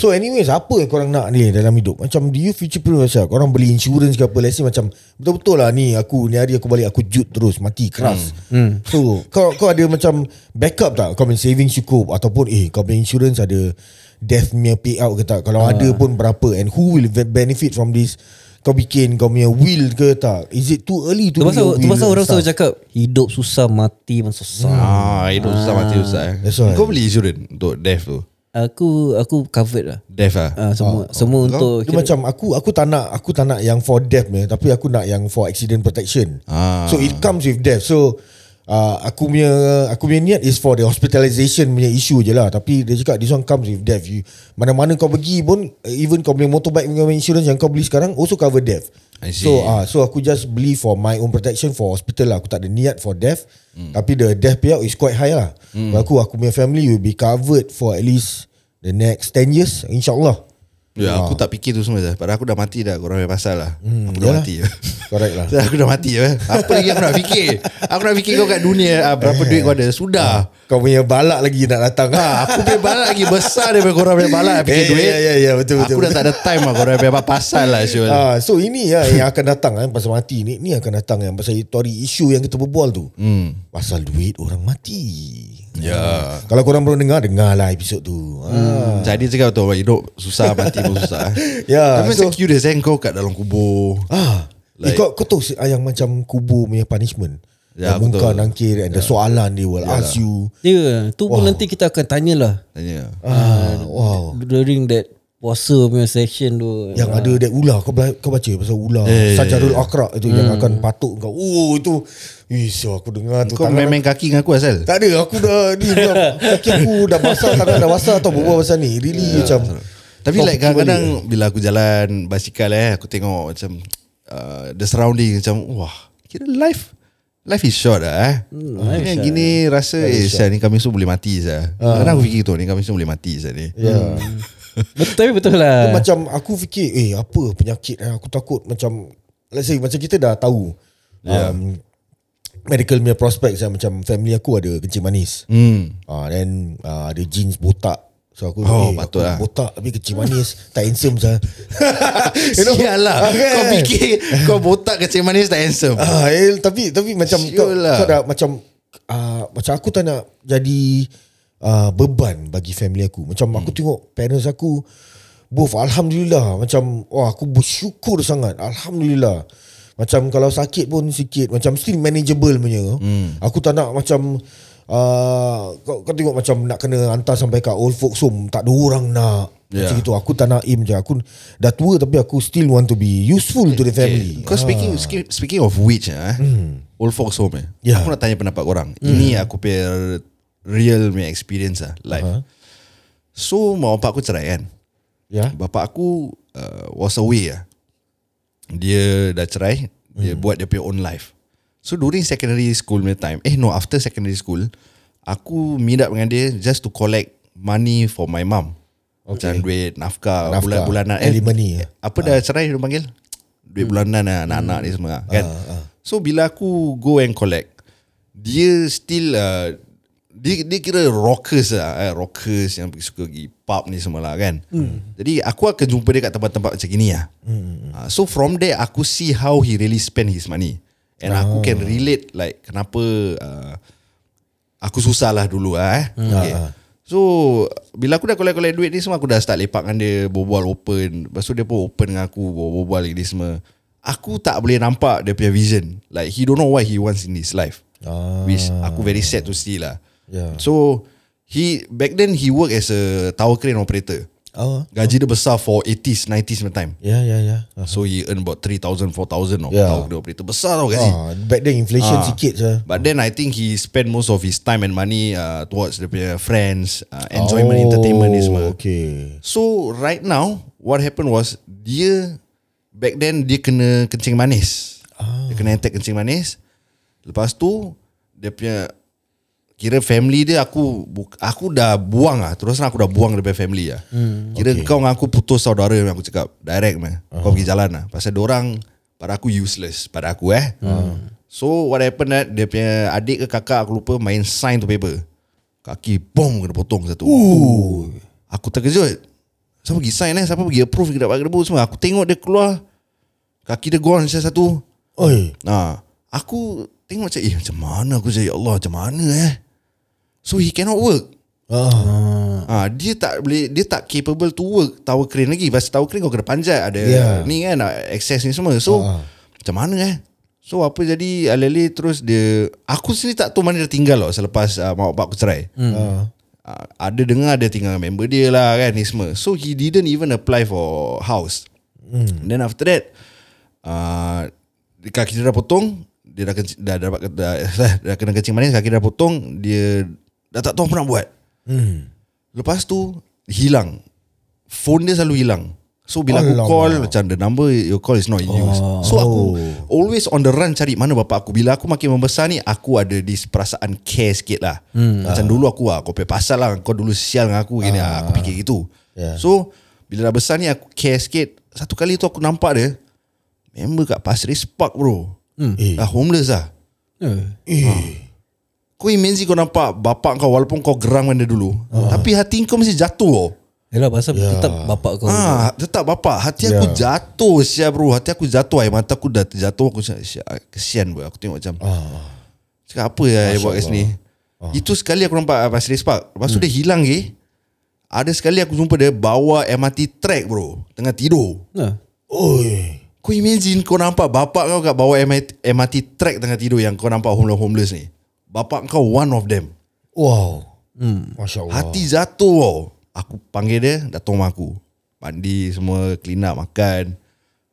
[SPEAKER 3] So anyways Apa yang korang nak ni Dalam hidup Macam do you future proof yourself Korang beli insurance ke apa Let's say macam Betul-betul lah ni Aku ni hari aku balik Aku jut terus Mati keras
[SPEAKER 2] Hmm.
[SPEAKER 3] So kau, kau ada macam Backup tak Kau punya savings cukup Ataupun eh Kau punya insurance ada Death punya payout ke tak Kalau
[SPEAKER 2] Ah.
[SPEAKER 3] ada pun berapa And who will ve- benefit from this Kau bikin Kau punya will ke tak Is it too early to
[SPEAKER 2] Tu
[SPEAKER 3] do
[SPEAKER 2] pasal
[SPEAKER 3] your
[SPEAKER 2] tu
[SPEAKER 3] will
[SPEAKER 2] pasal
[SPEAKER 3] and
[SPEAKER 2] orang
[SPEAKER 3] stuff?
[SPEAKER 2] selalu cakap hidup susah mati pun susah.
[SPEAKER 4] ah, hidup Ustaz mati Ustaz.
[SPEAKER 3] That's right.
[SPEAKER 4] Kau beli insurance untuk death tu?
[SPEAKER 2] Aku aku covered lah.
[SPEAKER 4] Death lah?
[SPEAKER 2] Ah, semua semua untuk
[SPEAKER 3] Dia macam aku aku tak nak aku tak nak yang for death ni tapi aku nak yang for accident protection.
[SPEAKER 4] Ah.
[SPEAKER 3] So it comes with death. So uh, aku punya aku punya niat is for the hospitalization punya issue je lah tapi dia cakap this one comes with death. You, mana-mana kau pergi pun even kau punya motorbike punya insurance yang kau beli sekarang also cover death.
[SPEAKER 4] I see.
[SPEAKER 3] So ah uh, so aku just beli for my own protection for hospital lah. Aku tak ada niat for death.
[SPEAKER 4] Hmm.
[SPEAKER 3] Mm. Tapi the death payout is quite high lah. Mm. Aku aku punya family will be covered for at least the next 10 years insyaallah.
[SPEAKER 4] Ya, aku tak fikir tu semua dah. Padahal aku dah mati dah. Korang punya pasal lah. aku dah
[SPEAKER 3] Hmm, yalah.
[SPEAKER 4] mati.
[SPEAKER 3] Correct lah.
[SPEAKER 4] aku dah mati je. Apa lagi aku nak fikir? Aku nak fikir kau kat dunia. ah, berapa duit kau ada? Sudah.
[SPEAKER 3] Kau punya balak lagi nak datang ha.
[SPEAKER 4] Ah, aku punya balak lagi besar daripada korang punya balak. nak Fikir
[SPEAKER 3] Ya, ya,
[SPEAKER 4] duit.
[SPEAKER 3] ya, ya, ya, betul,
[SPEAKER 4] Aku
[SPEAKER 3] betul,
[SPEAKER 4] dah tak ada time lah. Korang punya pasal lah. Syul.
[SPEAKER 3] Ah, so ini ya yang akan datang kan pasal mati ni ni akan datang yang pasal story isu yang kita berbual tu. Hmm. Pasal duit orang mati.
[SPEAKER 4] Ya.
[SPEAKER 3] Kalau korang belum dengar dengarlah episod tu. Hmm.
[SPEAKER 4] Jadi cakap tu orang hidup susah mati pun susah.
[SPEAKER 3] Ya,
[SPEAKER 4] Tapi
[SPEAKER 3] so-
[SPEAKER 4] so, curious kan kau kat dalam kubur.
[SPEAKER 3] Ah. Like, eh,
[SPEAKER 4] Like-
[SPEAKER 3] kau, kau tahu si- ah, yang macam kubur punya punishment.
[SPEAKER 4] Ya,
[SPEAKER 3] Yang
[SPEAKER 4] betul.
[SPEAKER 3] mungkar
[SPEAKER 4] Ya.
[SPEAKER 3] nangkir and the soalan they will ask you.
[SPEAKER 2] Ya, tu pun nanti kita akan tanyalah
[SPEAKER 4] Tanya.
[SPEAKER 3] Ah, wow.
[SPEAKER 2] during that puasa punya session tu.
[SPEAKER 3] Yang
[SPEAKER 4] Ya.
[SPEAKER 3] ada that ular kau, bela- kau baca pasal ular eh, Sajarul Akrak itu yang
[SPEAKER 4] Hmm.
[SPEAKER 3] akan patuk kau. Oh itu. Ish aku dengar tu
[SPEAKER 4] Kau
[SPEAKER 3] tangan
[SPEAKER 4] main-main kaki dengan aku asal?
[SPEAKER 3] Tak ada aku dah ni dah, kaki aku dah basah tangan dah basah tau berbual pasal ni. Really yeah, macam
[SPEAKER 4] Ya, Tapi
[SPEAKER 3] Kau
[SPEAKER 4] like
[SPEAKER 3] fikir
[SPEAKER 4] kadang-kadang bila aku jalan basikal eh aku tengok macam uh, the surrounding macam wah kira life life is short lah eh. Hmm, yang gini rasa eh saya ni kami semua boleh mati
[SPEAKER 3] Ah.
[SPEAKER 4] saya. Uh. Kadang aku fikir tu ni kami semua boleh mati saya ni.
[SPEAKER 3] balik. Yeah.
[SPEAKER 2] Betul betul
[SPEAKER 4] Eh.
[SPEAKER 3] Dia
[SPEAKER 2] lah.
[SPEAKER 3] macam aku fikir eh apa penyakit eh? aku takut macam let's say macam kita dah tahu
[SPEAKER 4] Ya.
[SPEAKER 3] yeah. um, medical punya prospects eh? macam family aku ada kencing manis.
[SPEAKER 4] Hmm.
[SPEAKER 3] Ah then ah, ada jeans botak. So aku
[SPEAKER 4] Oh,
[SPEAKER 3] eh,
[SPEAKER 4] patut
[SPEAKER 3] aku
[SPEAKER 4] lah.
[SPEAKER 3] botak tapi kecil manis, tak handsome sah. you know? Kan?
[SPEAKER 4] Sialah
[SPEAKER 3] Okay.
[SPEAKER 4] lah. Kau fikir Kau botak kecil manis tak handsome
[SPEAKER 3] Ah, eh, tapi tapi macam
[SPEAKER 4] Sure
[SPEAKER 3] kau,
[SPEAKER 4] lah.
[SPEAKER 3] kau dah macam ah, macam aku tak nak jadi ah, beban bagi family aku. Macam aku
[SPEAKER 4] Hmm.
[SPEAKER 3] tengok parents aku both alhamdulillah macam wah aku bersyukur sangat. Alhamdulillah. Macam kalau sakit pun sikit macam still manageable punya.
[SPEAKER 4] Hmm.
[SPEAKER 3] Aku tak nak macam ah, kau, kau tengok macam nak kena hantar sampai kat old folks home tak ada orang nak. Yeah.
[SPEAKER 4] Yeah.
[SPEAKER 3] Macam itu aku tak nak aim je. Aku dah tua tapi aku still want to be useful to the family. Ah. Hmm.
[SPEAKER 4] Kau speaking ski- speaking of which eh, old folks home eh.
[SPEAKER 3] Yeah.
[SPEAKER 4] Aku nak tanya pendapat korang.
[SPEAKER 3] Hmm.
[SPEAKER 4] Ini aku punya real punya experience lah life. So mak bapak aku cerai kan.
[SPEAKER 3] Ya.
[SPEAKER 4] Bapak aku uh, was away lah. Dia dah cerai, dia buat dia punya own life. So during secondary school punya time, eh no after secondary school, aku meet up dengan dia just to collect money for my mum. Okay. Macam duit nafkah,
[SPEAKER 3] Nafkah.
[SPEAKER 4] bulan-bulanan
[SPEAKER 3] Alimony, eh.
[SPEAKER 4] apa dah cerai dia panggil duit bulanan lah, anak-anak ni semua kan so bila aku go and collect dia still uh, dia, dia kira rockers lah eh, rockers yang pergi suka pergi pub ni semua lah kan jadi aku akan jumpa dia kat tempat-tempat macam gini lah Ah, so from there aku see how he really spend his money and aku can relate like kenapa uh, aku susah lah dulu lah eh.
[SPEAKER 3] Hmm.
[SPEAKER 4] Okay.
[SPEAKER 3] Ah,
[SPEAKER 4] So bila aku dah collect-collect duit ni semua aku dah start lepak dengan dia berbual open. Lepas tu dia pun open dengan aku berbual ni semua. Aku tak boleh nampak dia punya vision. Like he don't know what he wants in his life.
[SPEAKER 3] Ah. Ya.
[SPEAKER 4] Which aku very sad to see lah.
[SPEAKER 3] Yeah.
[SPEAKER 4] So he back then he work as a tower crane operator.
[SPEAKER 3] Oh.
[SPEAKER 4] Gaji dia besar for 80s, 90s punya time.
[SPEAKER 3] Yeah, yeah, yeah.
[SPEAKER 4] So he earn about 3,000, 4,000 tau.
[SPEAKER 3] Yeah.
[SPEAKER 4] Tau dia operator besar tau gaji.
[SPEAKER 3] Ya. Ah, back then inflation
[SPEAKER 4] Ah.
[SPEAKER 3] sikit je.
[SPEAKER 4] But then I think he spend most of his time and money uh, towards the punya friends, uh, enjoyment, oh, entertainment ni semua. Okay.
[SPEAKER 3] Okay.
[SPEAKER 4] So right now, what happened was dia back then dia kena kencing manis. Dia kena attack kencing manis. Lepas tu dia punya kira family dia aku bu- aku dah buang ah. Terus terang aku dah buang dia punya family ah. Hmm, kira okay. kau dengan aku putus saudara aku cakap direct meh. Kau pergi jalan ah. Pasal dia orang pada aku useless pada aku eh. Hmm. So what happened that dia punya adik ke kakak aku lupa main sign to paper. Kaki bom kena potong satu. Ooh. Aku terkejut. Siapa pergi sign eh? Siapa pergi approve kena pakai debu semua. Aku tengok dia keluar. Kaki dia gone saya satu.
[SPEAKER 3] Oi.
[SPEAKER 4] Nah, aku tengok macam eh macam mana aku cakap ya Allah macam mana eh. So he cannot work.
[SPEAKER 3] Ah.
[SPEAKER 4] Ah, dia tak boleh dia tak capable to work tower crane lagi. Pasal tower crane kau kena panjat ada
[SPEAKER 3] Yeah.
[SPEAKER 4] yeah. ni kan access ni semua. So uh-huh.
[SPEAKER 3] Ah.
[SPEAKER 4] macam mana eh? So apa jadi alele terus dia aku sendiri tak tahu mana dia tinggal lah selepas uh, mak bapak aku cerai. Hmm.
[SPEAKER 3] Ah.
[SPEAKER 4] Uh, ada dengar dia tinggal dengan member dia lah kan ni semua. So he didn't even apply for house. Mm. Then after that uh, kaki dia dah potong, dia dah kencing, dah, dah, dapat- dah, dah, dah kena kencing manis, kaki dia dah potong, dia dah tak tahu apa nak buat. Lepas tu hilang. Phone dia selalu hilang. So bila aku
[SPEAKER 3] Alamak. Oh.
[SPEAKER 4] call macam the number your call is not in use. So aku always on the run cari mana bapak aku. Bila aku makin membesar ni aku ada this perasaan care sikit lah.
[SPEAKER 3] Hmm.
[SPEAKER 4] Macam dulu aku ah kau pay pasal lah kau dulu sial dengan aku gini ah. aku fikir gitu.
[SPEAKER 3] Yeah.
[SPEAKER 4] So bila dah besar ni aku care sikit. Satu kali tu aku nampak dia member kat Pasir Ris Park bro.
[SPEAKER 3] Eh.
[SPEAKER 4] Dah homeless lah. Ah.
[SPEAKER 3] Eh.
[SPEAKER 4] Kau imagine kau nampak bapak kau walaupun kau geram dengan dia dulu.
[SPEAKER 3] Ah.
[SPEAKER 4] Tapi hati kau mesti jatuh tau.
[SPEAKER 2] Yalah pasal yeah. tetap bapak kau
[SPEAKER 4] Ah, tetap bapa. Hati aku
[SPEAKER 3] Ya.
[SPEAKER 4] jatuh sia bro. Hati aku jatuh air mata aku dah terjatuh aku cakap, "Sia, kesian bro. Aku tengok macam.
[SPEAKER 3] Ah.
[SPEAKER 4] Cakap apa ya dia buat kat sini? Itu sekali aku nampak ah, Pasir Ris Park. Lepas tu dia
[SPEAKER 3] Hmm.
[SPEAKER 4] hilang ke. Ada sekali aku jumpa dia bawa MRT track bro. Tengah tidur.
[SPEAKER 2] Nah.
[SPEAKER 3] Oi.
[SPEAKER 4] Kau imagine kau nampak bapak kau kat bawah MRT, MRT track tengah tidur yang kau nampak homeless-homeless ni. Bapak kau one of them.
[SPEAKER 3] Wow. Hmm. Masya Allah.
[SPEAKER 4] Hati jatuh tau. Aku panggil dia Datang rumah aku Mandi semua Clean up makan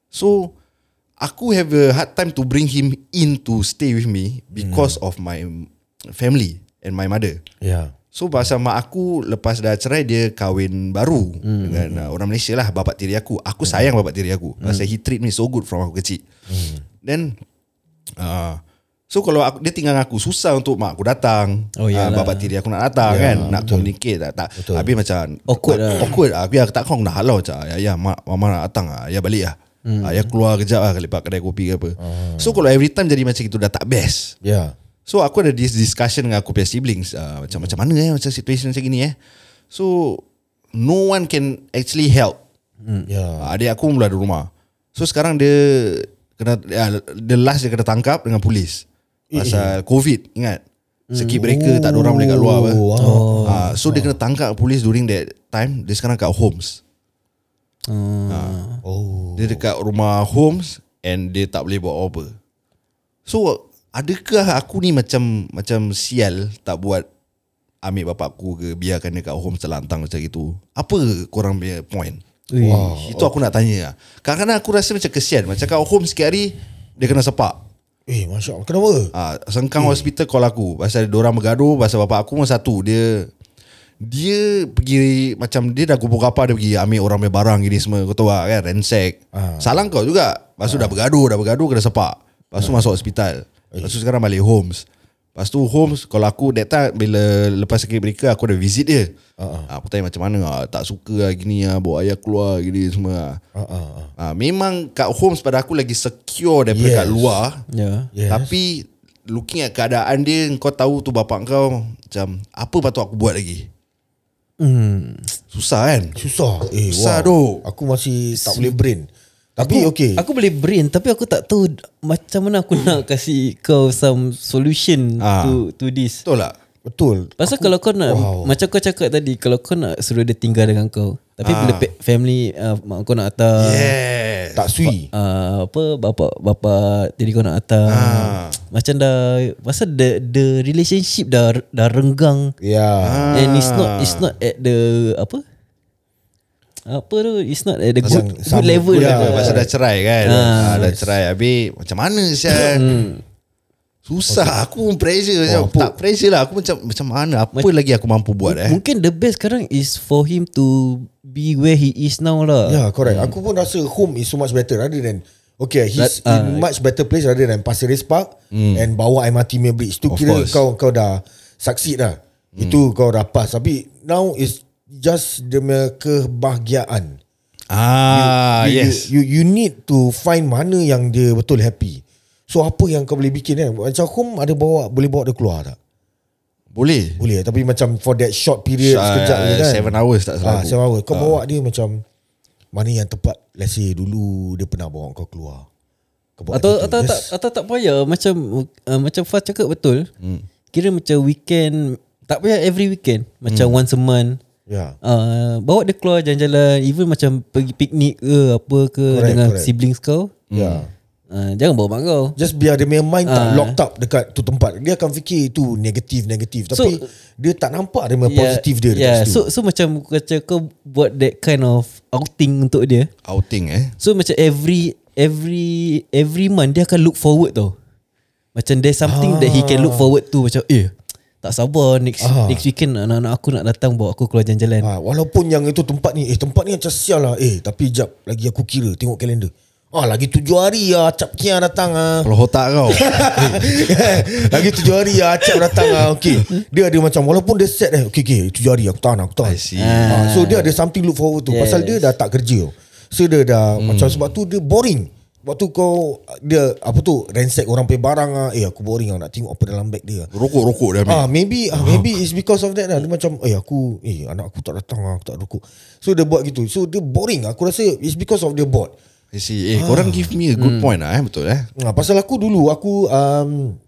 [SPEAKER 4] So Aku have a hard time to bring him in to stay with me Because of my family And my mother
[SPEAKER 3] Yeah.
[SPEAKER 4] So pasal mak aku Lepas dah cerai Dia kahwin baru
[SPEAKER 2] Hmm.
[SPEAKER 4] Dengan uh, orang Malaysia lah Bapak tiri aku Aku sayang bapak tiri aku Pasal he treat me so good From aku kecil
[SPEAKER 2] Hmm.
[SPEAKER 4] Then uh, So kalau aku, dia tinggal dengan aku Susah untuk mak aku datang
[SPEAKER 2] Oh,
[SPEAKER 4] Ah,
[SPEAKER 2] iyalah. Ya,
[SPEAKER 4] Bapak tiri aku nak datang kan Nak communicate tak, tak. Habis macam
[SPEAKER 2] Awkward
[SPEAKER 4] tak,
[SPEAKER 2] lah.
[SPEAKER 4] Awkward lah Habis aku tak kong nak halau macam Ya, ya mak, mama nak datang lah Ya balik lah hmm. Ya keluar kejap lah Lepak kedai kopi ke apa
[SPEAKER 2] Ah.
[SPEAKER 4] So kalau every time jadi macam itu Dah tak best
[SPEAKER 3] Yeah.
[SPEAKER 4] So aku ada this discussion dengan aku punya siblings uh, macam macam mana eh macam situation macam gini eh. So no one can actually help.
[SPEAKER 3] Yeah.
[SPEAKER 4] Uh, adik aku mula di rumah. So sekarang dia kena uh, the last dia kena tangkap dengan polis pasal COVID ingat. Circuit breaker tak ada orang boleh kat luar apa.
[SPEAKER 3] Oh,
[SPEAKER 4] Uh, so dia kena tangkap polis during that time. Dia sekarang kat Homes. Ah.
[SPEAKER 3] Oh.
[SPEAKER 4] Dia dekat rumah Holmes And dia tak boleh buat apa So Adakah aku ni macam Macam sial Tak buat Ambil bapak aku ke Biarkan dia kat Holmes terlantang macam itu Apa korang punya point
[SPEAKER 2] Wow.
[SPEAKER 4] Itu aku nak tanya lah. Kadang-kadang aku rasa macam kesian Macam kat Holmes sikit hari Dia kena sepak
[SPEAKER 3] Eh, Masya Allah. Kenapa?
[SPEAKER 4] Ah, Sengkang hospital call aku Pasal orang bergaduh Pasal bapak aku pun satu Dia Dia pergi Macam dia dah kumpul kapal Dia pergi ambil orang punya barang Gini semua Kau tahu lah kan Ransack
[SPEAKER 3] Ah.
[SPEAKER 4] Salah kau juga Lepas tu dah bergaduh Dah bergaduh kena sepak Lepas tu masuk hospital Lepas tu sekarang balik homes Lepas tu homes Kalau aku that time Bila lepas sakit mereka Aku ada visit dia Ah, Aku tanya macam mana ah, Tak suka lah gini lah Bawa ayah keluar Gini semua ah.
[SPEAKER 3] Ah, ah, ah.
[SPEAKER 4] Ah, Memang kat homes pada aku Lagi secure daripada
[SPEAKER 3] Yes.
[SPEAKER 4] kat luar
[SPEAKER 2] Ya.
[SPEAKER 3] Yes.
[SPEAKER 4] Yes. Tapi looking at keadaan dia kau tahu tu bapak kau macam apa patut aku buat lagi? Hmm. Susah kan?
[SPEAKER 3] Susah. Eh,
[SPEAKER 4] Susah,
[SPEAKER 3] wow.
[SPEAKER 4] dok.
[SPEAKER 3] Aku masih tak boleh brain. Tapi
[SPEAKER 2] Aku-
[SPEAKER 3] okay.
[SPEAKER 2] Aku boleh brain tapi aku tak tahu d- macam mana aku nak kasi kau some solution
[SPEAKER 4] Ah.
[SPEAKER 2] to to this.
[SPEAKER 4] Betul tak?
[SPEAKER 3] Betul.
[SPEAKER 2] Pasal kalau kau nak wow. macam kau cakap tadi kalau kau nak suruh dia tinggal dengan kau tapi bila pe- family uh, mak kau nak
[SPEAKER 4] Ah,
[SPEAKER 2] hantar
[SPEAKER 4] Yes.
[SPEAKER 3] Tak sui.
[SPEAKER 2] uh, apa bapa bapa tiri kau nak hantar macam dah pasal the the relationship dah dah renggang
[SPEAKER 4] Ah.
[SPEAKER 3] Ya.
[SPEAKER 2] and it's not it's not at the apa apa tu it's not at the good,
[SPEAKER 3] Pasal
[SPEAKER 2] good
[SPEAKER 3] sama-
[SPEAKER 2] level
[SPEAKER 4] Ya,
[SPEAKER 3] Ya,
[SPEAKER 2] lah.
[SPEAKER 4] pasal dah cerai kan. Ah, dah cerai. Habis macam mana saya?
[SPEAKER 3] Hmm.
[SPEAKER 4] Susah aku pun pressure macam
[SPEAKER 3] apa?
[SPEAKER 4] tak pressure lah aku macam macam mana apa lagi aku mampu buat eh.
[SPEAKER 2] Mungkin the best sekarang is for him to be where he is now
[SPEAKER 4] Ah.
[SPEAKER 2] lah.
[SPEAKER 3] Yeah, Ya, correct.
[SPEAKER 4] Hmm.
[SPEAKER 3] Aku pun rasa home is so much better rather than Okay, he's
[SPEAKER 2] That- ah,
[SPEAKER 3] in much better place rather than Pasir Ris Park and bawah MRT Main Bridge.
[SPEAKER 4] Hmm.
[SPEAKER 3] Tu
[SPEAKER 4] Of
[SPEAKER 3] kira
[SPEAKER 4] course. Hmm.
[SPEAKER 3] kau kau dah succeed dah. Itu kau dah pass. Tapi now is just dia punya kebahagiaan.
[SPEAKER 4] Ah,
[SPEAKER 3] you,
[SPEAKER 4] yes.
[SPEAKER 3] You, you you need to find mana yang dia betul happy. So apa yang kau boleh bikin kan? Macam home ada bawa boleh bawa dia keluar tak?
[SPEAKER 4] Boleh.
[SPEAKER 3] Boleh tapi macam for that short period
[SPEAKER 4] Sh-
[SPEAKER 3] sekejap je
[SPEAKER 4] uh,
[SPEAKER 3] kan.
[SPEAKER 4] seven hours tak salah
[SPEAKER 3] Ah,
[SPEAKER 4] aku.
[SPEAKER 3] 7 hours. Kau bawa dia macam mana yang tepat let's say dulu dia pernah bawa kau keluar. Kau bawa
[SPEAKER 2] Atau
[SPEAKER 3] dia tu,
[SPEAKER 2] atau
[SPEAKER 3] just-
[SPEAKER 2] tak atau tak payah macam uh, macam Faz cakap betul.
[SPEAKER 3] Hmm.
[SPEAKER 2] Kira macam weekend tak payah every weekend, macam
[SPEAKER 3] Hmm.
[SPEAKER 2] once a month.
[SPEAKER 3] Ya.
[SPEAKER 2] Uh, bawa dia keluar jalan-jalan even macam pergi piknik ke apa ke
[SPEAKER 3] Correct,
[SPEAKER 2] dengan
[SPEAKER 3] correct.
[SPEAKER 2] siblings kau.
[SPEAKER 3] Ya.
[SPEAKER 2] Uh, jangan bawa mak kau.
[SPEAKER 3] Just biar dia punya mind tak
[SPEAKER 2] Ah.
[SPEAKER 3] locked up dekat tu tempat. Dia akan fikir itu negatif negatif
[SPEAKER 2] So-
[SPEAKER 3] tapi dia tak nampak dia punya positif dia dekat
[SPEAKER 2] yeah. Ya,
[SPEAKER 3] situ.
[SPEAKER 2] So so macam kata kau buat that kind of outing untuk dia.
[SPEAKER 4] Outing eh.
[SPEAKER 2] So macam every every every month dia akan look forward tau. Macam there's something ah. that he can look forward to macam eh tak sabar next ah.
[SPEAKER 3] Ah.
[SPEAKER 2] next weekend anak-anak aku nak datang bawa aku keluar jalan-jalan. Ah.
[SPEAKER 3] Ha, walaupun yang itu tempat ni Eh tempat ni macam sial lah Eh tapi jap Lagi aku kira Tengok kalender Ah lagi tujuh hari lah Acap Kia datang ah.
[SPEAKER 4] Kalau otak kau.
[SPEAKER 3] lagi tujuh hari lah Acap datang ah. Okay Dia ada macam Walaupun dia set eh Okay okay tujuh hari aku tahan aku tahan
[SPEAKER 4] I see.
[SPEAKER 3] ha, So dia ada something look forward to yes. Pasal dia dah tak kerja So dia dah hmm. Macam sebab tu dia boring Sebab tu kau Dia apa tu Ransack orang punya barang ah. Eh aku boring lah Nak tengok apa dalam bag dia
[SPEAKER 4] Rokok-rokok dia ambil.
[SPEAKER 3] Ah, maybe ah, maybe it's because of that lah. Dia macam, eh aku, eh anak aku tak datang lah, aku tak rokok. So dia buat gitu. So dia boring. Aku rasa it's because of dia bored.
[SPEAKER 4] I see. Eh, korang
[SPEAKER 3] Ah.
[SPEAKER 4] give me a
[SPEAKER 3] Hmm.
[SPEAKER 4] good point lah eh. Betul eh.
[SPEAKER 3] Nah, Ah, pasal aku dulu aku um,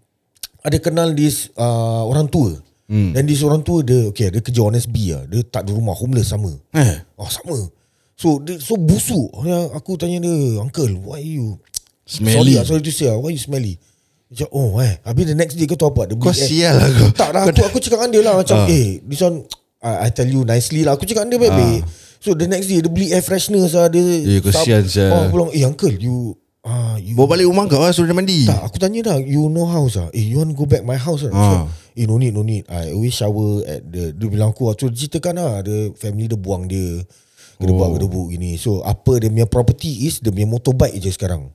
[SPEAKER 3] ada kenal this uh, orang tua. Hmm. Dan this orang tua dia okay, dia kerja honest B lah. Dia tak ada rumah, homeless sama.
[SPEAKER 4] Eh.
[SPEAKER 3] Oh, sama. So dia so busuk. Ya, Aku tanya dia, "Uncle, why you
[SPEAKER 4] Smelly.
[SPEAKER 3] Sorry, lah, sorry to say, lah, why you smelly?" Macam oh eh Habis the next day kau tahu apa Dia
[SPEAKER 4] Kau
[SPEAKER 3] big ass-
[SPEAKER 4] sial lah kau. Ah.
[SPEAKER 3] Tak lah aku, aku cakap dengan dia lah Macam eh This one I, I tell you nicely lah Aku cakap dengan dia
[SPEAKER 4] Ah.
[SPEAKER 3] baik-baik So the next day Dia beli air freshener lah Dia
[SPEAKER 4] Eh, kesian sia.
[SPEAKER 3] Oh pulang Eh uncle you ah, you
[SPEAKER 4] Bawa balik rumah kau lah suruh dia mandi.
[SPEAKER 3] tak, aku tanya dah You know house ah? Eh, you want go back my house ah?
[SPEAKER 4] Ah.
[SPEAKER 3] Ha. Eh, no need, no need. I always shower at the... Dia bilang aku, aku ceritakan lah. Dia, family dia buang dia. Gedebak, oh. gedebuk gini. So, apa dia punya property is, dia punya motorbike je sekarang.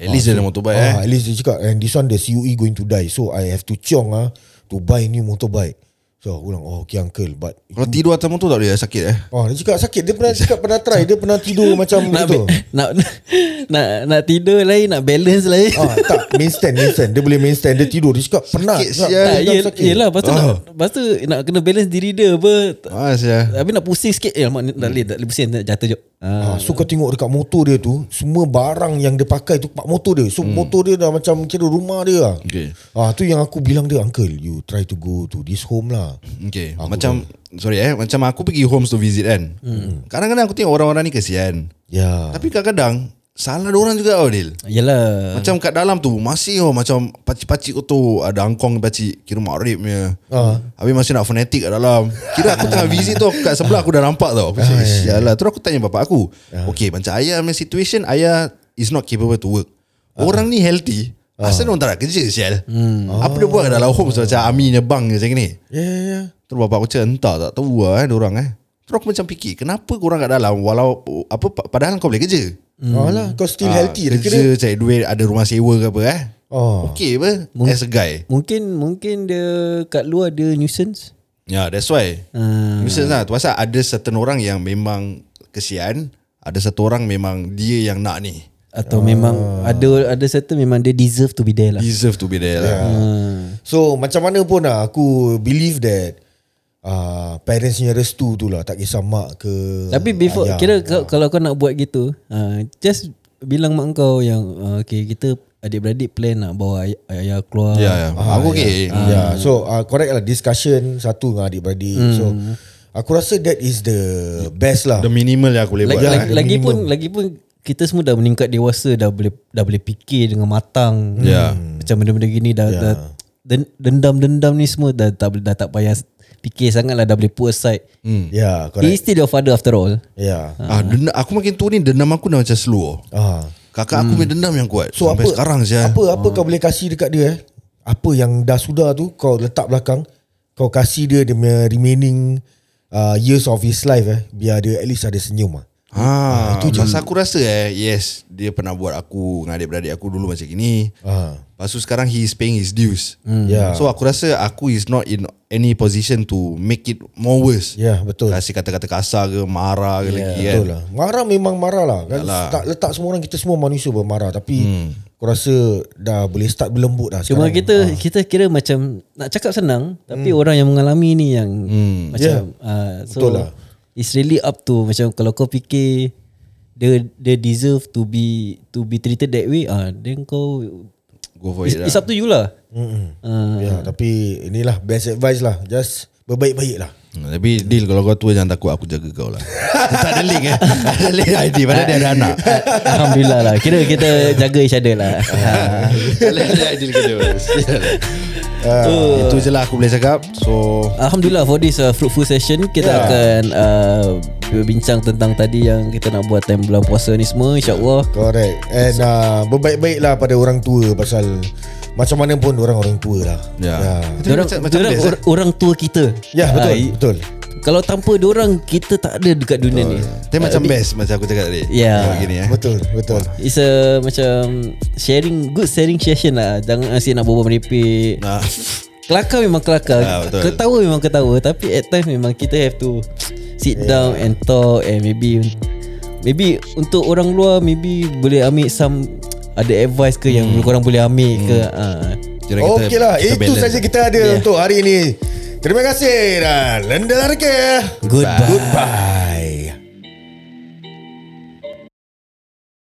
[SPEAKER 4] At least dia ada motorbike eh.
[SPEAKER 3] Ah, at least dia cakap, and this one the CUE going to die. So, I have to ciong ah to buy new motorbike. So, aku bilang, oh, okay uncle, but...
[SPEAKER 4] Kalau tidur atas motor tak boleh sakit eh.
[SPEAKER 3] Oh, dia cakap sakit. Dia pernah cakap pernah try. Dia pernah tidur macam
[SPEAKER 2] Nak,
[SPEAKER 3] begitu.
[SPEAKER 2] nak nak nak tidur lain, nak balance lain.
[SPEAKER 3] Ah, tak, main stand, main stand. Dia boleh main stand. Dia tidur. Dia cakap pernah.
[SPEAKER 4] Sakit
[SPEAKER 3] Cakap,
[SPEAKER 4] sial.
[SPEAKER 2] tak,
[SPEAKER 3] dia
[SPEAKER 2] ye,
[SPEAKER 3] sakit.
[SPEAKER 2] yelah, lepas tu, nak, lepas tu nak kena balance diri dia apa.
[SPEAKER 4] Ah,
[SPEAKER 3] ya.
[SPEAKER 4] sia.
[SPEAKER 2] Habis nak pusing sikit. Eh, alamak, ni tak boleh, tak boleh pusing, nak jatuh je. Ah.
[SPEAKER 3] Ah, so kau tengok dekat motor dia tu Semua barang yang dia pakai tu Pak motor dia So hmm. motor dia dah macam Kira rumah dia lah
[SPEAKER 4] Okay.
[SPEAKER 3] ah, Tu yang aku bilang dia Uncle you try to go to this home lah
[SPEAKER 4] Okay aku Macam Sorry eh Macam aku pergi homes to visit kan hmm. Kadang-kadang aku tengok orang-orang ni kesian
[SPEAKER 3] Ya
[SPEAKER 4] Tapi kadang-kadang Salah orang juga tau
[SPEAKER 3] Hmm.
[SPEAKER 4] Dil
[SPEAKER 2] Yelah.
[SPEAKER 4] Macam kat dalam tu Masih oh, macam Pacik-pacik kau tu Ada angkong pacik Kira makrib punya
[SPEAKER 3] Ah.
[SPEAKER 4] uh. Habis masih nak fanatik kat dalam Kira aku tengah visit tu Kat sebelah aku dah nampak tau Aku cakap Sialah Terus aku tanya bapak aku
[SPEAKER 3] Ah.
[SPEAKER 4] Okay macam ayah punya situation Ayah is not capable to work
[SPEAKER 3] Ah.
[SPEAKER 4] Orang ni healthy Asal orang tak nak kerja sial
[SPEAKER 3] Hmm.
[SPEAKER 4] Apa dia buat kat dalam home
[SPEAKER 3] Ah.
[SPEAKER 4] Macam Ami punya bang macam ni
[SPEAKER 3] Ya ya ya
[SPEAKER 4] Terus bapak aku cakap Entah tak tahu lah eh Diorang eh Terus aku macam fikir Kenapa korang kat dalam Walau apa Padahal kau boleh kerja
[SPEAKER 2] Hmm.
[SPEAKER 3] Alah Ah, lah, kau still healthy
[SPEAKER 4] Ah,
[SPEAKER 3] dia
[SPEAKER 4] Kerja
[SPEAKER 3] kira
[SPEAKER 4] cari duit Ada rumah sewa ke apa eh
[SPEAKER 3] Oh.
[SPEAKER 4] Okay apa As a guy
[SPEAKER 2] Mungkin mungkin dia kat luar dia nuisance.
[SPEAKER 4] Ya yeah, that's why
[SPEAKER 2] Ah.
[SPEAKER 4] Nuisance lah Tu pasal ada certain orang Yang memang Kesian Ada satu orang memang Dia yang nak ni
[SPEAKER 2] Atau memang ada ada certain memang dia deserve to be there lah.
[SPEAKER 4] Ah. Deserve to be there lah
[SPEAKER 3] So macam mana pun lah Aku believe that uh, Parents punya restu tu lah Tak kisah mak ke
[SPEAKER 2] Tapi before
[SPEAKER 3] ayah.
[SPEAKER 2] kira kau, kalau kau nak buat gitu, uh, just bilang mak kau yang uh, okay kita adik-beradik plan nak bawa ay- ayah keluar.
[SPEAKER 4] Ya yeah, yeah. Aku okay Hmm.
[SPEAKER 3] Ya, yeah. so uh, correct lah discussion satu dengan adik-beradik. So
[SPEAKER 2] Hmm.
[SPEAKER 3] aku rasa that is the best lah.
[SPEAKER 4] The minimal yang aku boleh
[SPEAKER 2] Lagi,
[SPEAKER 4] buat lah
[SPEAKER 2] lagi, lagi pun lagi pun kita semua dah meningkat dewasa dah boleh dah boleh fikir dengan matang.
[SPEAKER 4] Ya.
[SPEAKER 2] Macam benda-benda gini dah, yeah. dah den- dendam-dendam ni semua dah tak boleh dah tak payah fikir sangat lah dah boleh put aside. Mm.
[SPEAKER 4] Hmm,
[SPEAKER 2] He is
[SPEAKER 3] Yeah, Ya, correct.
[SPEAKER 2] still your father after all.
[SPEAKER 3] Yeah.
[SPEAKER 4] Ah, dendam, aku makin tua ni dendam aku dah macam slow.
[SPEAKER 3] Ah.
[SPEAKER 2] Hmm.
[SPEAKER 4] Kakak aku punya dendam yang kuat.
[SPEAKER 3] So
[SPEAKER 4] Sampai
[SPEAKER 3] apa
[SPEAKER 4] sekarang eh. saya.
[SPEAKER 3] Apa apa kau boleh kasih dekat dia eh? Apa yang dah sudah tu kau letak belakang, kau kasih dia dia punya remaining uh, years of his life eh, biar dia at least ada senyum ah.
[SPEAKER 4] Ah, itu je. Pasal aku rasa eh, yes, dia pernah buat aku dengan adik-beradik aku dulu macam gini.
[SPEAKER 3] Ah. Ya.
[SPEAKER 4] Lepas tu sekarang he is paying his dues.
[SPEAKER 2] Hmm.
[SPEAKER 3] Yeah.
[SPEAKER 4] So aku rasa aku is not in any position to make it more worse.
[SPEAKER 3] Yeah, Ya, betul.
[SPEAKER 4] Kasih kata-kata kasar ke, marah ke yeah, lagi kan.
[SPEAKER 3] Betul lah. Marah memang marah lah. Kan?
[SPEAKER 4] Yalah.
[SPEAKER 3] Tak letak semua orang kita semua manusia bermarah tapi hmm. kau rasa dah boleh start berlembut dah
[SPEAKER 2] Cuma
[SPEAKER 3] sekarang. ah. Hmm.
[SPEAKER 2] kita kita kira macam nak cakap senang tapi orang yang mengalami ni yang macam yeah. uh, so
[SPEAKER 3] Betul lah.
[SPEAKER 2] it's really up to macam kalau kau fikir dia dia deserve to be to be treated that way ah uh, then kau
[SPEAKER 4] Go for
[SPEAKER 2] it's,
[SPEAKER 4] it
[SPEAKER 2] it's up
[SPEAKER 4] lah.
[SPEAKER 2] to you lah. Uh,
[SPEAKER 3] Ya, tapi inilah best advice lah. Just berbaik-baik lah.
[SPEAKER 4] Hmm, Tapi deal kalau kau tua jangan takut aku jaga kau lah. tak ada link eh. Tak ada link ID padahal dia ada anak.
[SPEAKER 2] Alhamdulillah lah. Kira kita jaga each other lah.
[SPEAKER 4] Tak ada ID dekat dia. Itu je lah aku boleh cakap. So
[SPEAKER 2] Alhamdulillah for this uh, fruitful session kita yeah. akan uh, berbincang tentang tadi yang kita nak buat time bulan puasa ni semua insyaallah.
[SPEAKER 3] Correct. And uh, berbaik-baik lah pada orang tua pasal macam mana pun orang orang tua lah.
[SPEAKER 4] Ya.
[SPEAKER 3] Ya.
[SPEAKER 4] Tapi
[SPEAKER 2] Orang,
[SPEAKER 4] macam- macam
[SPEAKER 2] orang,
[SPEAKER 4] best, eh?
[SPEAKER 2] orang, orang tua kita.
[SPEAKER 3] Ya betul
[SPEAKER 2] Ah,
[SPEAKER 3] betul.
[SPEAKER 2] Kalau tanpa orang kita tak ada dekat dunia ni.
[SPEAKER 4] Tapi macam best macam aku cakap tadi.
[SPEAKER 2] Yeah.
[SPEAKER 4] Macam Gini eh.
[SPEAKER 3] Betul betul.
[SPEAKER 2] It's a macam sharing good sharing session lah. Jangan asyik nak berbual merepek.
[SPEAKER 4] Nah,
[SPEAKER 2] Kelakar memang kelakar.
[SPEAKER 4] Ah, betul.
[SPEAKER 2] ketawa memang ketawa tapi at times memang kita have to sit yeah. down and talk and maybe maybe untuk orang luar maybe boleh ambil some ada advice ke yang
[SPEAKER 4] Hmm.
[SPEAKER 2] korang boleh ambil ke. Ah.
[SPEAKER 4] kira kita-
[SPEAKER 3] Okey lah.
[SPEAKER 4] kita
[SPEAKER 3] Itu
[SPEAKER 4] balance
[SPEAKER 3] saja
[SPEAKER 4] lah.
[SPEAKER 3] kita ada
[SPEAKER 2] Ya.
[SPEAKER 3] untuk hari ini. Terima kasih dan lendir ke.
[SPEAKER 2] Goodbye.
[SPEAKER 3] Goodbye.